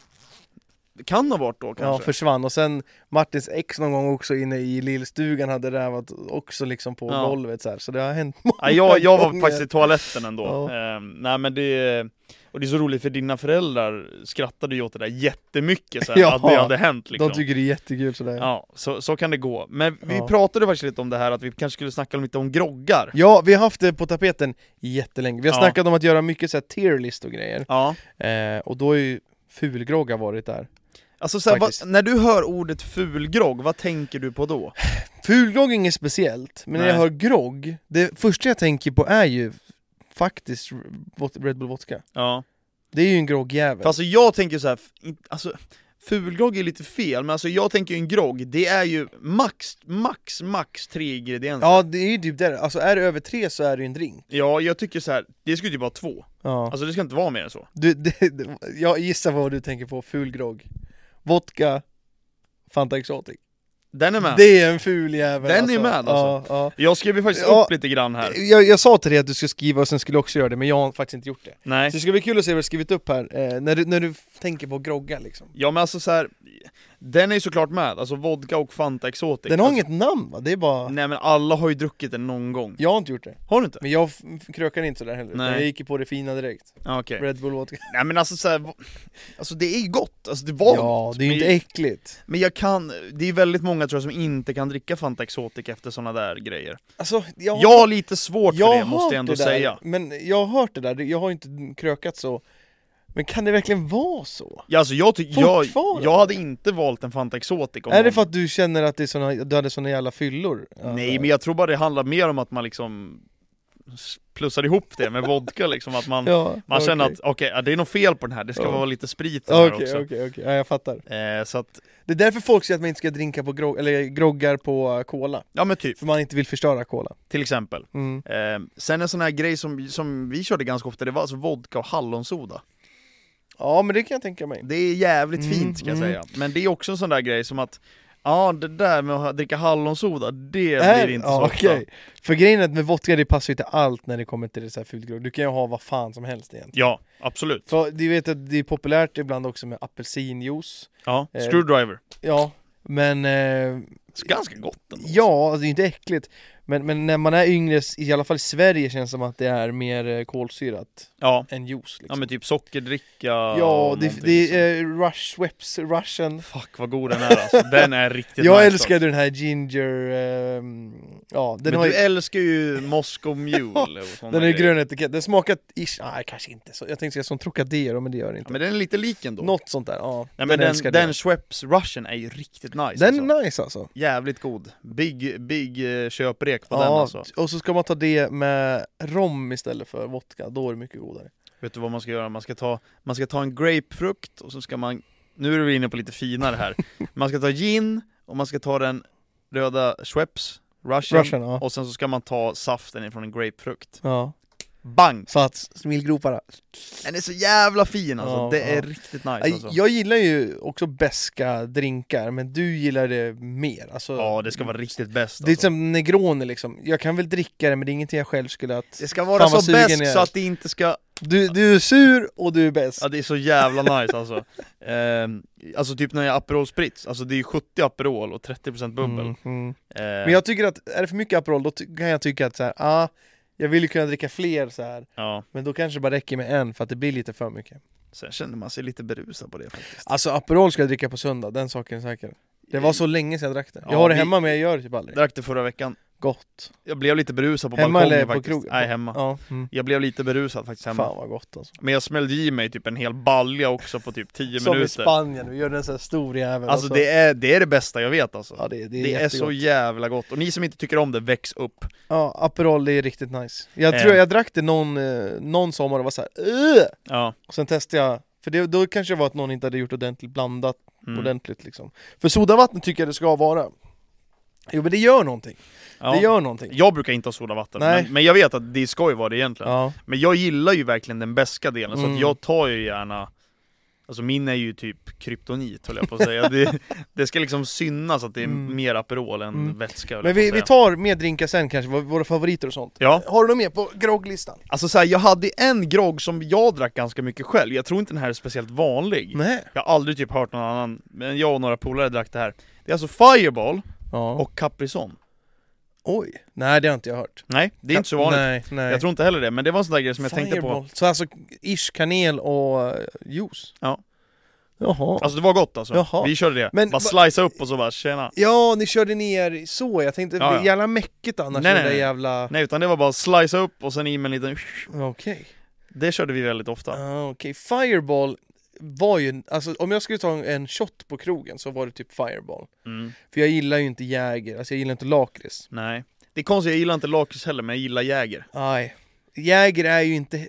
Speaker 3: Kan ha varit då
Speaker 1: Ja,
Speaker 3: kanske.
Speaker 1: försvann. Och sen Martins ex någon gång också inne i lillstugan hade rävat också liksom på
Speaker 3: Ja.
Speaker 1: golvet så här. Så det har hänt många
Speaker 3: Ja, jag, jag var
Speaker 1: gånger.
Speaker 3: faktiskt i toaletten ändå.
Speaker 1: Ja.
Speaker 3: Ehm, nej men det, och det är så roligt för dina föräldrar skrattade ju åt det där jättemycket sen,
Speaker 1: Ja.
Speaker 3: att det hade hänt liksom.
Speaker 1: De tycker det är jättekul sådär. Ja.
Speaker 3: Ja, så, så kan det gå. Men vi
Speaker 1: Ja.
Speaker 3: pratade faktiskt lite om det här att vi kanske skulle snacka lite om groggar.
Speaker 1: ja, vi har haft det på tapeten jättelänge. Vi har
Speaker 3: Ja.
Speaker 1: snackat om att göra mycket så här tier list och grejer.
Speaker 3: Ja.
Speaker 1: Eh, och då har ju fulgroggar varit där.
Speaker 3: Alltså så här, vad,
Speaker 1: Faktiskt.
Speaker 3: när du hör ordet fulgrogg, vad tänker du på då?
Speaker 1: Fulgrogg är inget speciellt, men när
Speaker 3: Nej.
Speaker 1: jag hör grogg, det första jag tänker på är ju faktiskt vod- Red Bull Vodka.
Speaker 3: Ja.
Speaker 1: Det är ju en groggjävel.
Speaker 3: För alltså jag tänker så här, f- in- alltså fulgrogg är lite fel, men alltså jag tänker ju en grogg, det är ju max, max, max tre ingredienser.
Speaker 1: Ja, det är ju typ det. Alltså är det över tre så är det ju en drink.
Speaker 3: Ja, jag tycker så här, det skulle typ vara två.
Speaker 1: Ja.
Speaker 3: Alltså det ska inte vara mer än så.
Speaker 1: Du, det, det, jag gissar vad du tänker på, ful grogg. Vodka, Fanta Exotic.
Speaker 3: Den är med.
Speaker 1: Det är en ful jävel
Speaker 3: Den är
Speaker 1: alltså.
Speaker 3: med, alltså.
Speaker 1: Ja,
Speaker 3: Jag skrev ju faktiskt
Speaker 1: Ja.
Speaker 3: upp lite grann
Speaker 1: ja.
Speaker 3: här.
Speaker 1: Jag, jag sa till dig att du skulle skriva och sen skulle jag också göra det, men jag har faktiskt inte gjort det.
Speaker 3: Nej.
Speaker 1: Så det ska bli kul att se vad du skrivit upp här, eh, när, du, när du tänker på grogga liksom.
Speaker 3: Ja men alltså så här, den är ju såklart med, alltså vodka och Fanta Exotic.
Speaker 1: Den har
Speaker 3: alltså,
Speaker 1: inget namn va? Det är bara...
Speaker 3: Nej men alla har ju druckit den någon gång.
Speaker 1: Jag har inte gjort det.
Speaker 3: Har du inte?
Speaker 1: Men jag f- krökar inte sådär heller, utan
Speaker 3: Nej.
Speaker 1: jag gick ju på det fina direkt.
Speaker 3: Ja, Okej.
Speaker 1: Red Bull Vodka.
Speaker 3: Nej men alltså så här, vo- alltså det är ju gott, alltså det var
Speaker 1: ja,
Speaker 3: gott,
Speaker 1: det är ju
Speaker 3: men-
Speaker 1: inte äckligt.
Speaker 3: Men jag kan, det är väldigt många tror jag som inte kan dricka Fanta Exotic efter sådana där grejer.
Speaker 1: Alltså, jag,
Speaker 3: Jag har lite svårt
Speaker 1: jag
Speaker 3: för
Speaker 1: har
Speaker 3: det måste
Speaker 1: hört
Speaker 3: jag ändå
Speaker 1: det där,
Speaker 3: säga.
Speaker 1: Men jag har hört det där, jag har inte krökat så. Men kan det verkligen vara så?
Speaker 3: Ja, alltså jag, ty- jag,
Speaker 1: Fortfarande?
Speaker 3: jag hade inte valt en Fanta Exotic om
Speaker 1: är det
Speaker 3: någon-
Speaker 1: för att du känner att det är såna, du hade såna jävla fyllor?
Speaker 3: Nej men jag tror bara det handlar mer om att man liksom s- plussar ihop det med vodka liksom, att man,
Speaker 1: ja,
Speaker 3: man känner
Speaker 1: okej.
Speaker 3: att okej, ja, det är något fel på den här, det ska
Speaker 1: Ja.
Speaker 3: vara lite sprit i den här
Speaker 1: Okej,
Speaker 3: också.
Speaker 1: okej, okej, ja, jag fattar.
Speaker 3: Eh, så att,
Speaker 1: Det är därför folk säger att man inte ska drinka på grog- eller groggar på eh, cola.
Speaker 3: ja men typ,
Speaker 1: För man inte vill förstöra cola.
Speaker 3: till exempel.
Speaker 1: Mm.
Speaker 3: Eh, sen en sån här grej som, som vi körde ganska ofta, det var alltså vodka och hallonsoda.
Speaker 1: Ja, men det kan jag tänka mig.
Speaker 3: Det är jävligt
Speaker 1: Mm,
Speaker 3: fint ska jag
Speaker 1: mm.
Speaker 3: säga. Men det är också en sån där grej som att, ja det där med att dricka hallonsoda, det
Speaker 1: Är-
Speaker 3: blir inte
Speaker 1: Äh, ja,
Speaker 3: så
Speaker 1: okej.
Speaker 3: ofta.
Speaker 1: För grejen är att med vodka det passar ju till allt när det kommer till det så här fult grogg. Du kan ju ha vad fan som helst egentligen.
Speaker 3: Ja, absolut.
Speaker 1: För du vet att det är populärt ibland också med apelsinjuice.
Speaker 3: Ja,
Speaker 1: Eh,
Speaker 3: screwdriver.
Speaker 1: Ja, men eh,
Speaker 3: Ganska gott ändå.
Speaker 1: ja, alltså, det är ju inte äckligt. Men, men när man är yngre, i alla fall i Sverige, känns det som att det är mer eh, kolsyrat
Speaker 3: Ja.
Speaker 1: än juice. Liksom.
Speaker 3: Ja men typ sockerdricka
Speaker 1: Ja,
Speaker 3: och
Speaker 1: det,
Speaker 3: någonting liksom.
Speaker 1: det
Speaker 3: som-
Speaker 1: är eh, Rush, Schweppes, Russian.
Speaker 3: Fuck vad god den är alltså, den är riktigt
Speaker 1: Jag
Speaker 3: nice
Speaker 1: älskade den här Ginger, eh, ja den
Speaker 3: Men
Speaker 1: har
Speaker 3: du
Speaker 1: ju,
Speaker 3: älskar ju Moscow Mule och såna
Speaker 1: den är ju
Speaker 3: grejer.
Speaker 1: grön etikett, den smakar ish, nej kanske inte så, jag tänkte säga som Trocadero men det gör det
Speaker 3: Ja,
Speaker 1: inte
Speaker 3: Men den är lite lik ändå
Speaker 1: Något sånt där, ja.
Speaker 3: Nej men den, den,
Speaker 1: älskade jag.
Speaker 3: Schweppes Russian är ju riktigt nice
Speaker 1: den
Speaker 3: alltså.
Speaker 1: är nice alltså.
Speaker 3: Jävligt god, big, big eh, köprek på den
Speaker 1: Ja,
Speaker 3: alltså
Speaker 1: och så ska man ta det med rom istället för vodka, då är det mycket godare.
Speaker 3: Vet du vad man ska göra? Man ska ta, man ska ta en grapefrukt och så ska man Nu är vi inne på lite finare här Man ska ta gin och man ska ta den röda Schweppes Russian,
Speaker 1: Russian, ja.
Speaker 3: och sen så ska man ta saften ifrån en grapefrukt
Speaker 1: ja.
Speaker 3: Bang!
Speaker 1: Så att smilgroparna.
Speaker 3: Den är så jävla fin alltså,
Speaker 1: Ja,
Speaker 3: det
Speaker 1: ja.
Speaker 3: är riktigt nice alltså.
Speaker 1: Jag gillar ju också beska drinkar, men du gillar det mer. Alltså,
Speaker 3: Ja, det ska vara riktigt bäst
Speaker 1: Det är
Speaker 3: alltså.
Speaker 1: som Negroni liksom, jag kan väl dricka det men det är ingenting jag själv skulle att...
Speaker 3: Det ska vara
Speaker 1: Fan, vad
Speaker 3: så
Speaker 1: sugen
Speaker 3: bäst
Speaker 1: jag är.
Speaker 3: så att det inte ska...
Speaker 1: Du, du är sur och du är bäst.
Speaker 3: Ja, det är så jävla nice alltså Ehm, Alltså typ när jag Aperol Spritz, alltså det är ju 70 Aperol och 30% bubbel
Speaker 1: Mm, mm.
Speaker 3: Ehm,
Speaker 1: Men jag tycker att, är det för mycket Aperol då ty- kan jag tycka att så här, ah, jag vill ju kunna dricka fler så här.
Speaker 3: ja.
Speaker 1: men då kanske det bara räcker med en för att det blir lite för mycket.
Speaker 3: Sen känner man sig lite berusad på det faktiskt
Speaker 1: Alltså Aperol ska jag dricka på söndag, den saken är säker. Det var så länge sedan jag drack det. Jag
Speaker 3: Ja,
Speaker 1: har det
Speaker 3: vi-
Speaker 1: hemma men jag gör det typ aldrig.
Speaker 3: Drack det förra veckan,
Speaker 1: Gott.
Speaker 3: jag blev lite berusad på
Speaker 1: Hemma
Speaker 3: balkongen
Speaker 1: eller på
Speaker 3: faktiskt
Speaker 1: krogen?
Speaker 3: Nej, hemma
Speaker 1: Ja. Mm.
Speaker 3: Jag blev lite berusad faktiskt hemma
Speaker 1: Fan vad gott alltså.
Speaker 3: Men jag smällde i mig typ en hel balja också på typ 10
Speaker 1: Som i
Speaker 3: minuter
Speaker 1: Spanien, vi gör en sån här stor jävel.
Speaker 3: Alltså det är, det är det bästa jag vet alltså
Speaker 1: ja, det, det är,
Speaker 3: Det är
Speaker 1: jättegott.
Speaker 3: så jävla gott, och ni som inte tycker om det, väx upp!
Speaker 1: Ja, Aperol det är riktigt nice. Jag
Speaker 3: Eh.
Speaker 1: tror jag drack det någon, eh, någon sommar och var såhär Ugh!
Speaker 3: Ja,
Speaker 1: Och sen testade jag, för det, då kanske det var att någon inte hade gjort ordentligt blandat
Speaker 3: mm.
Speaker 1: ordentligt liksom. För sodavatten tycker jag det ska vara. Jo men det gör någonting.
Speaker 3: ja.
Speaker 1: Det gör någonting.
Speaker 3: Jag brukar inte ha sodavatten,
Speaker 1: Nej.
Speaker 3: men, men jag vet att det ska ju vara det egentligen.
Speaker 1: Ja.
Speaker 3: Men jag gillar ju verkligen den beska delen, så
Speaker 1: Mm.
Speaker 3: att jag tar ju gärna Alltså min är ju typ kryptonit höll jag på att säga. det, det ska liksom synas att det är
Speaker 1: Mm.
Speaker 3: mer Aperol än
Speaker 1: Mm.
Speaker 3: vätska höll
Speaker 1: Men
Speaker 3: jag
Speaker 1: vi,
Speaker 3: på
Speaker 1: vi
Speaker 3: att säga.
Speaker 1: tar med drinkar sen kanske, vad- våra favoriter och sånt.
Speaker 3: Ja,
Speaker 1: Har du något mer på grogglistan?
Speaker 3: alltså så här, jag hade en grogg som jag drack ganska mycket själv. Jag tror inte den här är speciellt vanlig.
Speaker 1: Nej.
Speaker 3: Jag har aldrig typ hört någon annan, men jag och några polare drack det här. Det är alltså Fireball
Speaker 1: Ja.
Speaker 3: och Caprison.
Speaker 1: oj. Nej, det har inte jag hört.
Speaker 3: Nej, det är inte så vanligt.
Speaker 1: Nej, nej.
Speaker 3: Jag tror inte heller det, men det var en sån där grej som jag tänkte på.
Speaker 1: Fireball. Så alltså, ish, kanel och eh, juice?
Speaker 3: Ja.
Speaker 1: Jaha.
Speaker 3: Alltså det var gott alltså.
Speaker 1: Jaha.
Speaker 3: Vi körde det.
Speaker 1: Men
Speaker 3: bara
Speaker 1: va-
Speaker 3: slicea upp och så bara tjena.
Speaker 1: ja, ni körde ner så, jag tänkte,
Speaker 3: Ja,
Speaker 1: ja,
Speaker 3: ja.
Speaker 1: jävla mäckigt annars
Speaker 3: Nej,
Speaker 1: med
Speaker 3: nej,
Speaker 1: det
Speaker 3: nej.
Speaker 1: jävla...
Speaker 3: Nej utan det var bara slicea upp och sen i med en liten
Speaker 1: Okej.
Speaker 3: Det körde vi väldigt ofta.
Speaker 1: Ah, Okej, Fireball var ju, alltså om jag skulle ta en shot på krogen så var det typ Fireball.
Speaker 3: Mm.
Speaker 1: För jag gillar ju inte Jäger, alltså jag gillar inte lakrits.
Speaker 3: Nej. Det är konstigt, jag gillar inte lakrits heller men jag gillar Jäger.
Speaker 1: Nej. Jäger är ju inte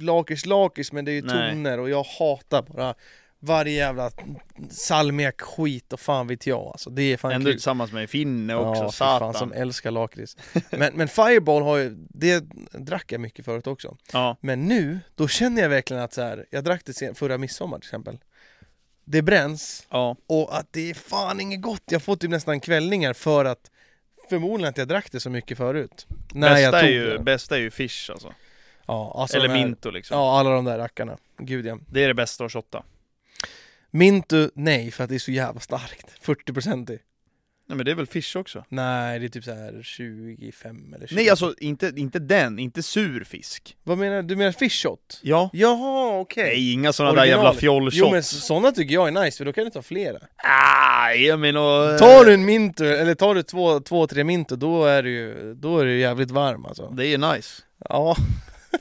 Speaker 1: lakrits lakrits men det är ju
Speaker 3: Nej.
Speaker 1: toner och jag hatar bara varje jävla salmiak skit och fan vet jag alltså. Det är fan
Speaker 3: Ändå
Speaker 1: kul.
Speaker 3: tillsammans med Finne också,
Speaker 1: ja, fy
Speaker 3: satan.
Speaker 1: fan som älskar lakrits. Men, men Fireball har ju, det drack jag mycket förut också.
Speaker 3: Ja.
Speaker 1: Men nu, då känner jag verkligen att så här, jag drack det sen- förra midsommar till exempel. Det bränns
Speaker 3: ja.
Speaker 1: och att det är fan inget gott. Jag får typ nästan kvällningar för att förmodligen att jag drack det så mycket förut. När jag
Speaker 3: Bästa,
Speaker 1: tog
Speaker 3: är ju,
Speaker 1: det.
Speaker 3: bästa är ju Fish alltså.
Speaker 1: Ja, alltså
Speaker 3: Eller
Speaker 1: de här-
Speaker 3: Minto liksom.
Speaker 1: Ja, alla de där rackarna. Gud ja.
Speaker 3: Det är det bästa att shotta.
Speaker 1: Mintu, nej, för att det är så jävla starkt. 40% i.
Speaker 3: Nej men det är väl Fish också?
Speaker 1: Nej, det är typ så här 25 eller 20.
Speaker 3: Nej alltså inte, inte den, inte sur fisk.
Speaker 1: Vad menar du? Du menar fish shot?
Speaker 3: Ja.
Speaker 1: Jaha, okej.
Speaker 3: Nej inga såna där
Speaker 1: Originalet.
Speaker 3: jävla fjollshots.
Speaker 1: Jo men sådana tycker jag är nice, för då kan du ta flera.
Speaker 3: Ah, jag menar...
Speaker 1: Tar du en Mintu, eller tar du två, två tre Mintu, då är du ju, då är du jävligt varm alltså.
Speaker 3: Det är nice.
Speaker 1: Ja,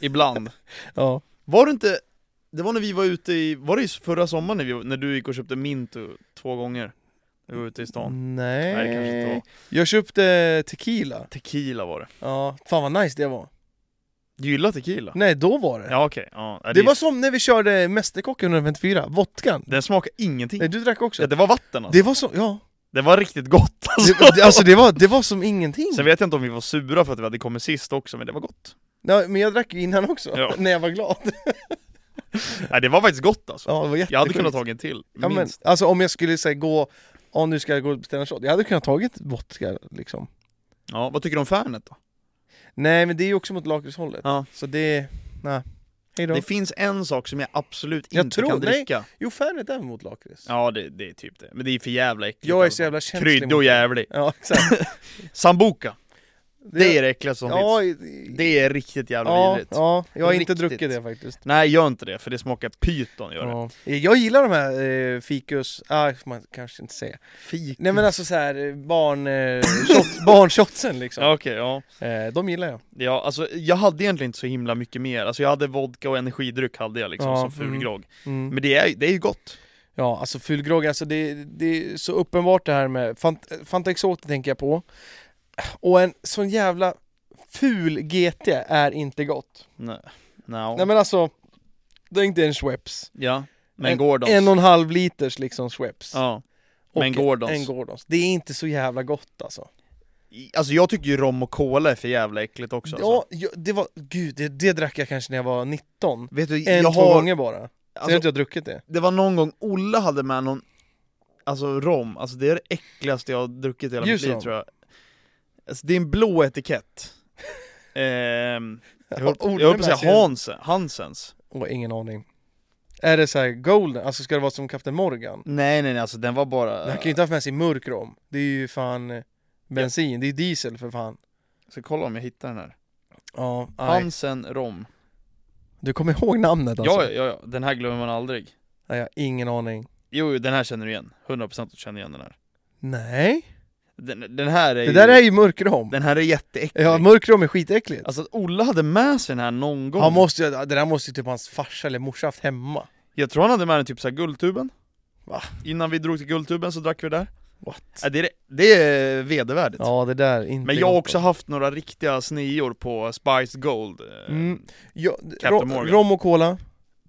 Speaker 3: Ibland.
Speaker 1: ja.
Speaker 3: Var det inte, det var när vi var ute i, var det i förra sommaren när, vi, när du gick och köpte Mintu två gånger? När vi var ute i stan?
Speaker 1: Nej.
Speaker 3: Nej det kanske inte var.
Speaker 1: Jag köpte tequila.
Speaker 3: Tequila var det.
Speaker 1: Ja, fan vad nice det var.
Speaker 3: Du gillar tequila?
Speaker 1: Nej, då var det.
Speaker 3: Ja okej, ja. Nej,
Speaker 1: Det var som när vi körde Mästerkocken 154, vodkan.
Speaker 3: Den smakar ingenting.
Speaker 1: Nej, du drack också.
Speaker 3: ja, det var vatten alltså.
Speaker 1: Det var som, ja.
Speaker 3: Det var riktigt gott alltså.
Speaker 1: Det, det, alltså det var, det var som ingenting.
Speaker 3: Sen vet jag inte om vi var sura för att vi hade kommit sist också, men det var gott.
Speaker 1: Nej, men jag drack ju innan också,
Speaker 3: Ja.
Speaker 1: när jag var glad.
Speaker 3: Nej det var faktiskt gott alltså.
Speaker 1: Ja, det var
Speaker 3: jag hade
Speaker 1: jättesjukt.
Speaker 3: kunnat tagit en till,
Speaker 1: ja, men,
Speaker 3: minst.
Speaker 1: Alltså om jag skulle säga gå, om du ska gå och beställa en shot, jag hade kunnat tagit vodka liksom.
Speaker 3: Ja, vad tycker du om Fernet då?
Speaker 1: Nej men det är ju också mot lakritshållet.
Speaker 3: Ja.
Speaker 1: Så det, nej. Hejdå.
Speaker 3: Det finns en sak som jag absolut
Speaker 1: Jag
Speaker 3: inte
Speaker 1: tror-
Speaker 3: kan
Speaker 1: nej.
Speaker 3: dricka.
Speaker 1: Jo Fernet är mot lakrits.
Speaker 3: Ja det, det är typ det, men det är för jävla äckligt
Speaker 1: Jag är
Speaker 3: alltså.
Speaker 1: så jävla känslig
Speaker 3: Kryddig och
Speaker 1: mot
Speaker 3: jävlig.
Speaker 1: Ja exakt.
Speaker 3: Sambuca, det är det äckligaste som
Speaker 1: ja,
Speaker 3: finns.
Speaker 1: i-
Speaker 3: Det är riktigt jävla
Speaker 1: ja,
Speaker 3: vidrigt.
Speaker 1: ja, jag har inte
Speaker 3: Riktigt.
Speaker 1: druckit det faktiskt.
Speaker 3: Nej gör inte det, för det smakar pyton gör det.
Speaker 1: Ja. Jag gillar de här eh, fikus, ah, man kanske inte säger.
Speaker 3: Fik.
Speaker 1: Nej men alltså så här eh, barn, eh, shot, barnshotsen liksom.
Speaker 3: Ja, Okej, ja.
Speaker 1: Eh, de gillar jag.
Speaker 3: ja alltså, jag hade egentligen inte så himla mycket mer, alltså jag hade vodka och energidryck hade jag liksom
Speaker 1: Ja,
Speaker 3: som ful
Speaker 1: mm.
Speaker 3: grogg.
Speaker 1: Mm.
Speaker 3: Men det är, det är ju gott.
Speaker 1: Ja, alltså fyllgrogg, alltså det, det är så uppenbart det här med Fant Fanta Exotic tänker jag på. Och en sån jävla ful GT är inte gott.
Speaker 3: Nej, no.
Speaker 1: Nej men alltså, tänk dig en Schweppes.
Speaker 3: Ja, men
Speaker 1: en,
Speaker 3: Gordons.
Speaker 1: En och en halv liters liksom Schweppes.
Speaker 3: Ja.
Speaker 1: Och
Speaker 3: Men Gordons.
Speaker 1: En Gordons. Det är inte så jävla gott alltså.
Speaker 3: I- Alltså jag tycker ju rom och cola är för jävla äckligt också alltså.
Speaker 1: Ja, jag, det var, gud, det, det drack jag kanske när jag var 19.
Speaker 3: Vet du,
Speaker 1: En,
Speaker 3: jag
Speaker 1: två
Speaker 3: har,
Speaker 1: gånger bara. Sen har
Speaker 3: alltså,
Speaker 1: inte jag druckit det.
Speaker 3: det var någon gång Olle hade med någon Alltså rom, alltså det är det äckligaste jag har druckit i hela mitt
Speaker 1: Ljus
Speaker 3: liv
Speaker 1: rom.
Speaker 3: tror jag alltså, Det är en blå etikett Ehm, Jag höll på- jag höll på att säga Hansen, Hansens
Speaker 1: Åh, ingen aning. Är det så här golden, alltså ska det vara som Kapten Morgan?
Speaker 3: Nej nej nej, alltså den var bara
Speaker 1: Men han kan ju inte ha haft med sig mörk rom. Det är ju fan eh, bensin, det är diesel för fan.
Speaker 3: Ska kolla om jag hittar den här
Speaker 1: Ja, nej.
Speaker 3: Hansen rom
Speaker 1: Du kommer ihåg namnet alltså?
Speaker 3: ja, ja ja, den här glömmer man aldrig
Speaker 1: Nej, jag har ingen aning.
Speaker 3: Jo, jo, den här känner du igen, 100% du känner igen den här
Speaker 1: Nej,
Speaker 3: Den, den här är
Speaker 1: det där
Speaker 3: ju,
Speaker 1: är ju mörk rom.
Speaker 3: Den här är jätteäcklig
Speaker 1: Ja, mörk rom är skitäckligt.
Speaker 3: Alltså att Olle hade med sig den här någon gång
Speaker 1: Han måste, ju- det där måste ju typ hans farsa eller morsa haft hemma.
Speaker 3: Jag tror han hade med den typ såhär Guldtuben
Speaker 1: Va?
Speaker 3: Innan vi drog till Guldtuben så drack vi där
Speaker 1: What?
Speaker 3: Ja, det, är, det är vedervärdigt
Speaker 1: Ja, det där är inte
Speaker 3: Men jag har
Speaker 1: gott,
Speaker 3: också haft några riktiga snior på Spice Gold eh,
Speaker 1: Mm. Ja,
Speaker 3: Captain
Speaker 1: rom,
Speaker 3: Morgan.
Speaker 1: rom och cola,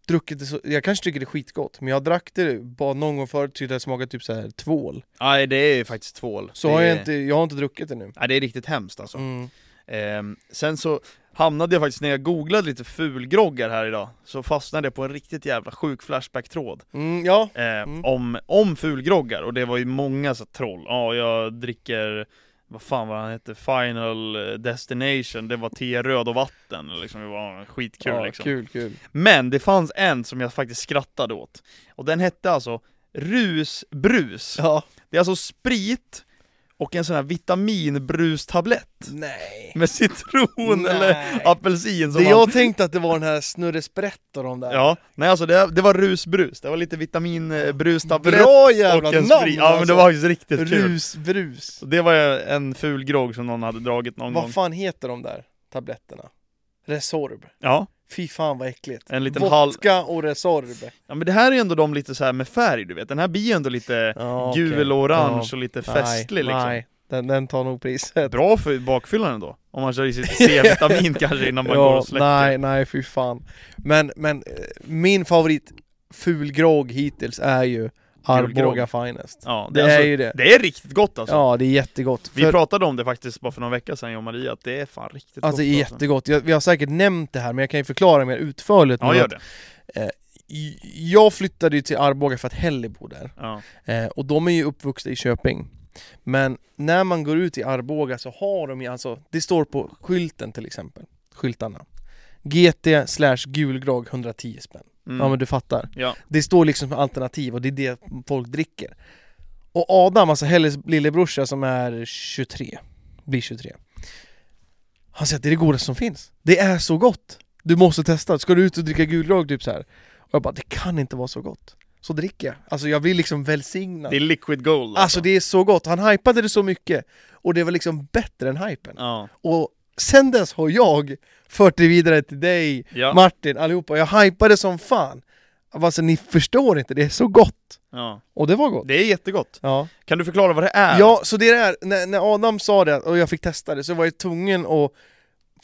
Speaker 1: druckit det så, jag kanske tycker det är skitgott, men jag drack det bara någon gång förut tyckte jag det smakade typ så här tvål.
Speaker 3: Nej det är faktiskt tvål
Speaker 1: Så
Speaker 3: det
Speaker 1: har jag Mm.
Speaker 3: är-
Speaker 1: inte, jag har inte druckit det nu.
Speaker 3: Nej det är riktigt hemskt alltså
Speaker 1: Mm.
Speaker 3: Ehm, Sen så, hamnade jag faktiskt, när jag googlade lite fulgroggar här idag, så fastnade jag på en riktigt jävla sjuk Flashback-tråd
Speaker 1: Mm, ja.
Speaker 3: eh,
Speaker 1: Mm.
Speaker 3: om, om fulgroggar, och det var ju många så här troll. Ja, jag dricker, vad fan var han hette, Final eh, Destination, det var te, röd och vatten, liksom, det var skitkul
Speaker 1: ja,
Speaker 3: liksom.
Speaker 1: Kul, kul.
Speaker 3: Men det fanns en som jag faktiskt skrattade åt, och den hette alltså Rusbrus.
Speaker 1: Ja.
Speaker 3: Det är alltså sprit och en sån här vitaminbrustablett
Speaker 1: Nej.
Speaker 3: med citron
Speaker 1: Nej.
Speaker 3: eller apelsin som
Speaker 1: Det
Speaker 3: Alltså, man...
Speaker 1: jag tänkte att det var den här Snurre Sprätt och de där.
Speaker 3: Ja, nej alltså det, det var rusbrus, det var lite vitaminbrustablett
Speaker 1: Bra jävla
Speaker 3: och en
Speaker 1: namn!
Speaker 3: sprit. Ja men det var faktiskt riktigt
Speaker 1: alltså.
Speaker 3: kul.
Speaker 1: Rusbrus.
Speaker 3: Så det var en ful grogg som någon hade dragit någon gång.
Speaker 1: Vad fan heter de där tabletterna? Resorb.
Speaker 3: Ja.
Speaker 1: Fy fan vad äckligt.
Speaker 3: En liten halv...
Speaker 1: Vodka och Resorb.
Speaker 3: Ja men det här är ju ändå de lite så här med färg du vet, den här blir ju ändå lite
Speaker 1: Ja, okej.
Speaker 3: gul och orange
Speaker 1: Ja.
Speaker 3: och lite festlig
Speaker 1: nej,
Speaker 3: liksom.
Speaker 1: Nej, den, den tar nog priset.
Speaker 3: Bra för bakfyllan ändå, om man kör i sitt C-vitamin kanske innan man går och släcker.
Speaker 1: nej, nej fy fan. Men, men eh, min favorit fulgrogg hittills är ju Arboga Finest.
Speaker 3: Ja, det,
Speaker 1: Det
Speaker 3: är alltså,
Speaker 1: är ju det.
Speaker 3: Det är riktigt gott alltså.
Speaker 1: Ja, det är jättegott.
Speaker 3: Vi
Speaker 1: För-
Speaker 3: pratade om det faktiskt bara för någon vecka sedan jag och Maria, att det är fan riktigt
Speaker 1: Alltså
Speaker 3: gott
Speaker 1: det är jättegott. Jag, vi har säkert nämnt det här men jag kan ju förklara mer utförligt
Speaker 3: Ja
Speaker 1: nu
Speaker 3: gör
Speaker 1: att
Speaker 3: det.
Speaker 1: j- Jag flyttade ju till Arboga för att Helly bor där
Speaker 3: Ja.
Speaker 1: eh, och de är ju uppvuxna i Köping. Men när man går ut i Arboga så har de ju alltså, det står på skylten till exempel, skyltarna. GT slash gulgrogg 110 spänn.
Speaker 3: Mm.
Speaker 1: Ja men du fattar.
Speaker 3: Ja.
Speaker 1: Det står liksom som alternativ och det är det folk dricker. Och Adam, alltså Helles lillebrorsa som är 23, blir 23. Han säger att det är det godaste som finns. Det är så gott! Du måste testa, ska du ut och dricka gulgrogg typ så här. Och jag bara, det kan inte vara så gott. Så dricker jag. Alltså jag blir liksom välsignad.
Speaker 3: Det är liquid gold
Speaker 1: Alltså det är så gott, han hypade det så mycket. Och det var liksom bättre än hypen.
Speaker 3: Ja.
Speaker 1: Och sen dess har jag fört det vidare till dig,
Speaker 3: Ja.
Speaker 1: Martin, allihopa. Jag hypade som fan. Alltså ni förstår inte, det är så gott.
Speaker 3: ja.
Speaker 1: Och det var gott.
Speaker 3: Det är jättegott.
Speaker 1: Ja,
Speaker 3: Kan du förklara vad det är?
Speaker 1: ja så det är, när, när Adam sa det och jag fick testa det så var jag tvungen att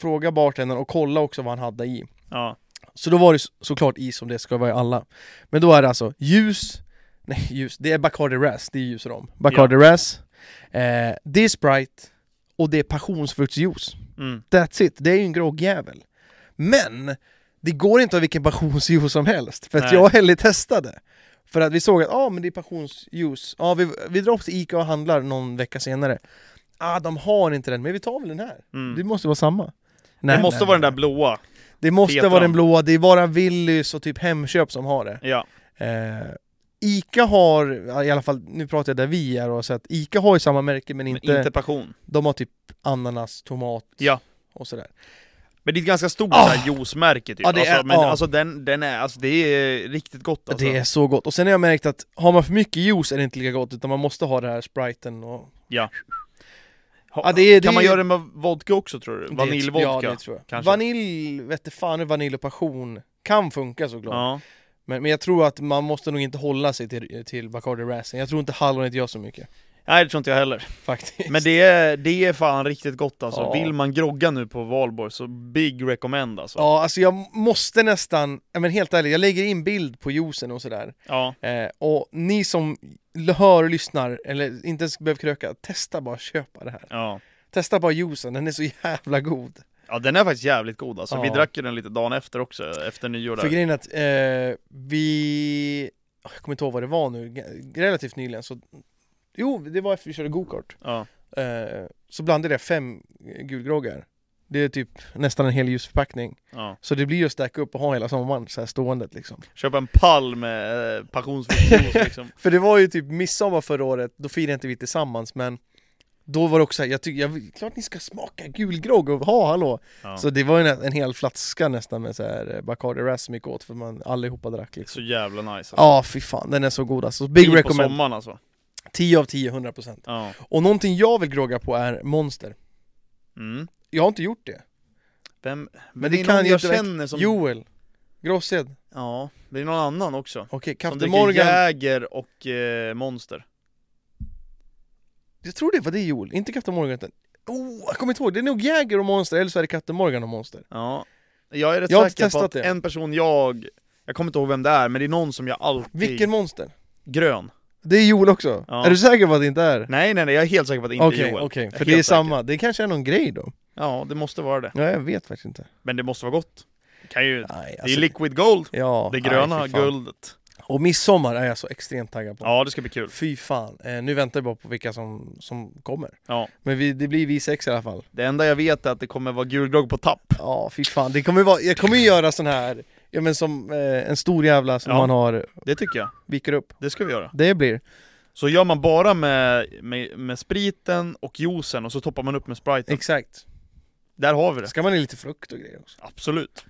Speaker 1: fråga bartendern och kolla också vad han hade i.
Speaker 3: Ja.
Speaker 1: Så då var det så- såklart i som det ska vara i alla. Men då är det alltså ljus, nej ljus, det är Bacardi Ras, det är ljus och rom. Bacardi Ras, eh, det är Sprite och det är passionsfruktsjuice.
Speaker 3: Mm.
Speaker 1: That's it, det är ju en groggjävel. Men det går inte av vilken passionsjuice som helst, för att
Speaker 3: Nej.
Speaker 1: jag och Helly testade. För att vi såg att, ja ah, men det är passionsjuice, ja ah, vi, vi drar upp till Ica och handlar någon vecka senare. Ah, de har inte den, men vi tar väl den här.
Speaker 3: Mm.
Speaker 1: Det måste vara samma.
Speaker 3: det måste vara den där blåa.
Speaker 1: Det måste
Speaker 3: Tetran.
Speaker 1: vara den blåa, det är bara Willys och typ Hemköp som har det.
Speaker 3: Ja.
Speaker 1: Eh, Ica har, ja, i alla fall nu pratar jag där vi är och så att Ica har ju samma märke men
Speaker 3: Men
Speaker 1: inte,
Speaker 3: inte... passion.
Speaker 1: de har typ ananas, tomat
Speaker 3: Ja.
Speaker 1: och sådär.
Speaker 3: Men det är ett ganska stort
Speaker 1: Ah.
Speaker 3: så här juicemärke typ.
Speaker 1: Ja, det
Speaker 3: alltså,
Speaker 1: är-
Speaker 3: men
Speaker 1: ja.
Speaker 3: alltså den, den är, alltså det är riktigt gott alltså.
Speaker 1: Det är så gott. Och sen har jag märkt att har man för mycket juice är det inte lika gott utan man måste ha det här spriten och...
Speaker 3: Ha-
Speaker 1: Ja, det är-
Speaker 3: kan
Speaker 1: det
Speaker 3: man
Speaker 1: är-
Speaker 3: göra det med vodka också tror du?
Speaker 1: Ja,
Speaker 3: Vaniljvodka?
Speaker 1: det tror jag.
Speaker 3: kanske.
Speaker 1: Vanilj, vette fan hur vanilj och passion kan funka såklart.
Speaker 3: ja.
Speaker 1: Men, men jag tror att man måste nog inte hålla sig till, till Bacardi Racing. Jag tror inte hallonet gör så mycket.
Speaker 3: Nej det tror inte jag heller.
Speaker 1: Faktiskt.
Speaker 3: Men det är, det är fan riktigt gott alltså.
Speaker 1: Ja.
Speaker 3: Vill man grogga nu på valborg så big recommend alltså.
Speaker 1: Ja, alltså jag måste nästan, ja, men helt ärligt, jag lägger in bild på juicen och sådär.
Speaker 3: Ja.
Speaker 1: Eh, och ni som l- hör och lyssnar, eller inte ens behöver kröka, testa bara att köpa det här.
Speaker 3: ja.
Speaker 1: Testa bara juicen, den är så jävla god.
Speaker 3: Ja den är faktiskt jävligt god alltså, vi
Speaker 1: Ja.
Speaker 3: drack ju den lite dagen efter också, efter nyår där
Speaker 1: För grejen är att eh, vi, jag kommer inte ihåg vad det var nu, g- relativt nyligen så, jo det var efter vi körde gokart.
Speaker 3: ja.
Speaker 1: Eh, så blandade jag fem eh, gulgroggar. Det är typ nästan en hel ljusförpackning.
Speaker 3: ja.
Speaker 1: Så det blir ju att stacka upp och ha hela sommaren så här ståendet liksom.
Speaker 3: Köpa en pall med eh, passionsfruktjuice liksom
Speaker 1: För det var ju typ midsommar förra året, då firade inte vi tillsammans men då var det också här, jag tycker, jag, vill- klart ni ska smaka gulgrogg och ha hallå!
Speaker 3: ja.
Speaker 1: Så det var ju en, en hel flaska nästan med så här eh, Bacardi Ras som gick åt för man allihopa drack liksom.
Speaker 3: Så jävla nice alltså.
Speaker 1: Ja, fy fan, den är så god alltså. Big
Speaker 3: Tid på
Speaker 1: recommend,
Speaker 3: sommaren alltså
Speaker 1: 10 av 10, 100%.
Speaker 3: Ja,
Speaker 1: Och någonting jag vill grogga på är Monster.
Speaker 3: mm.
Speaker 1: Jag har inte gjort det.
Speaker 3: Vem, men,
Speaker 1: Men
Speaker 3: det,
Speaker 1: det
Speaker 3: är
Speaker 1: kan
Speaker 3: någon
Speaker 1: ju
Speaker 3: jag
Speaker 1: inte vara-
Speaker 3: känner som,
Speaker 1: Joel, Gråsed,
Speaker 3: ja, det är någon annan också
Speaker 1: okej,
Speaker 3: Som
Speaker 1: Captain
Speaker 3: dricker
Speaker 1: Morgan.
Speaker 3: Jäger och eh, Monster
Speaker 1: Jag tror det var det Joel, inte Captain Morgan utan... Oh, jag kommer inte ihåg, det är nog Jäger och Monster, eller så är det Captain Morgan och Monster.
Speaker 3: Ja, jag är rätt
Speaker 1: Jag har inte
Speaker 3: säker på
Speaker 1: testat
Speaker 3: att
Speaker 1: det.
Speaker 3: en person jag, jag kommer inte ihåg vem det är, men det är någon som jag alltid,
Speaker 1: Vilken Monster?
Speaker 3: grön
Speaker 1: Det är Joel också?
Speaker 3: Ja.
Speaker 1: Är du säker på att det inte är?
Speaker 3: Nej nej nej, jag är helt säker på att det inte är
Speaker 1: Okej,
Speaker 3: Joel
Speaker 1: okej,
Speaker 3: Jag
Speaker 1: för
Speaker 3: helt
Speaker 1: det är
Speaker 3: säker.
Speaker 1: samma. Det kanske är någon grej då?
Speaker 3: Ja, det måste vara det.
Speaker 1: Ja, jag vet faktiskt inte.
Speaker 3: Men det måste vara gott. Det, kan ju,
Speaker 1: Nej, alltså-
Speaker 3: det är ju liquid gold.
Speaker 1: ja,
Speaker 3: Det
Speaker 1: nej,
Speaker 3: gröna
Speaker 1: fy fan.
Speaker 3: guldet.
Speaker 1: Och midsommar är jag så extremt taggad på.
Speaker 3: Ja, det ska bli kul.
Speaker 1: Fy fan. Eh, nu väntar jag bara på vilka som, som kommer.
Speaker 3: Ja.
Speaker 1: Men vi, det blir vi sex i alla fall.
Speaker 3: Det enda jag vet är att det kommer vara gul grogg på tapp.
Speaker 1: Ja, fy fan. Det kommer ju vara, jag kommer ju göra sån här, ja men som eh, en stor jävla som
Speaker 3: Ja.
Speaker 1: man har,
Speaker 3: Det tycker jag.
Speaker 1: viker upp.
Speaker 3: Det ska vi göra.
Speaker 1: Det blir.
Speaker 3: Så gör man bara med, med, med spriten och juicen och så toppar man upp med spriten.
Speaker 1: Exakt.
Speaker 3: Där har vi det.
Speaker 1: Ska man i lite frukt och grejer också.
Speaker 3: Absolut.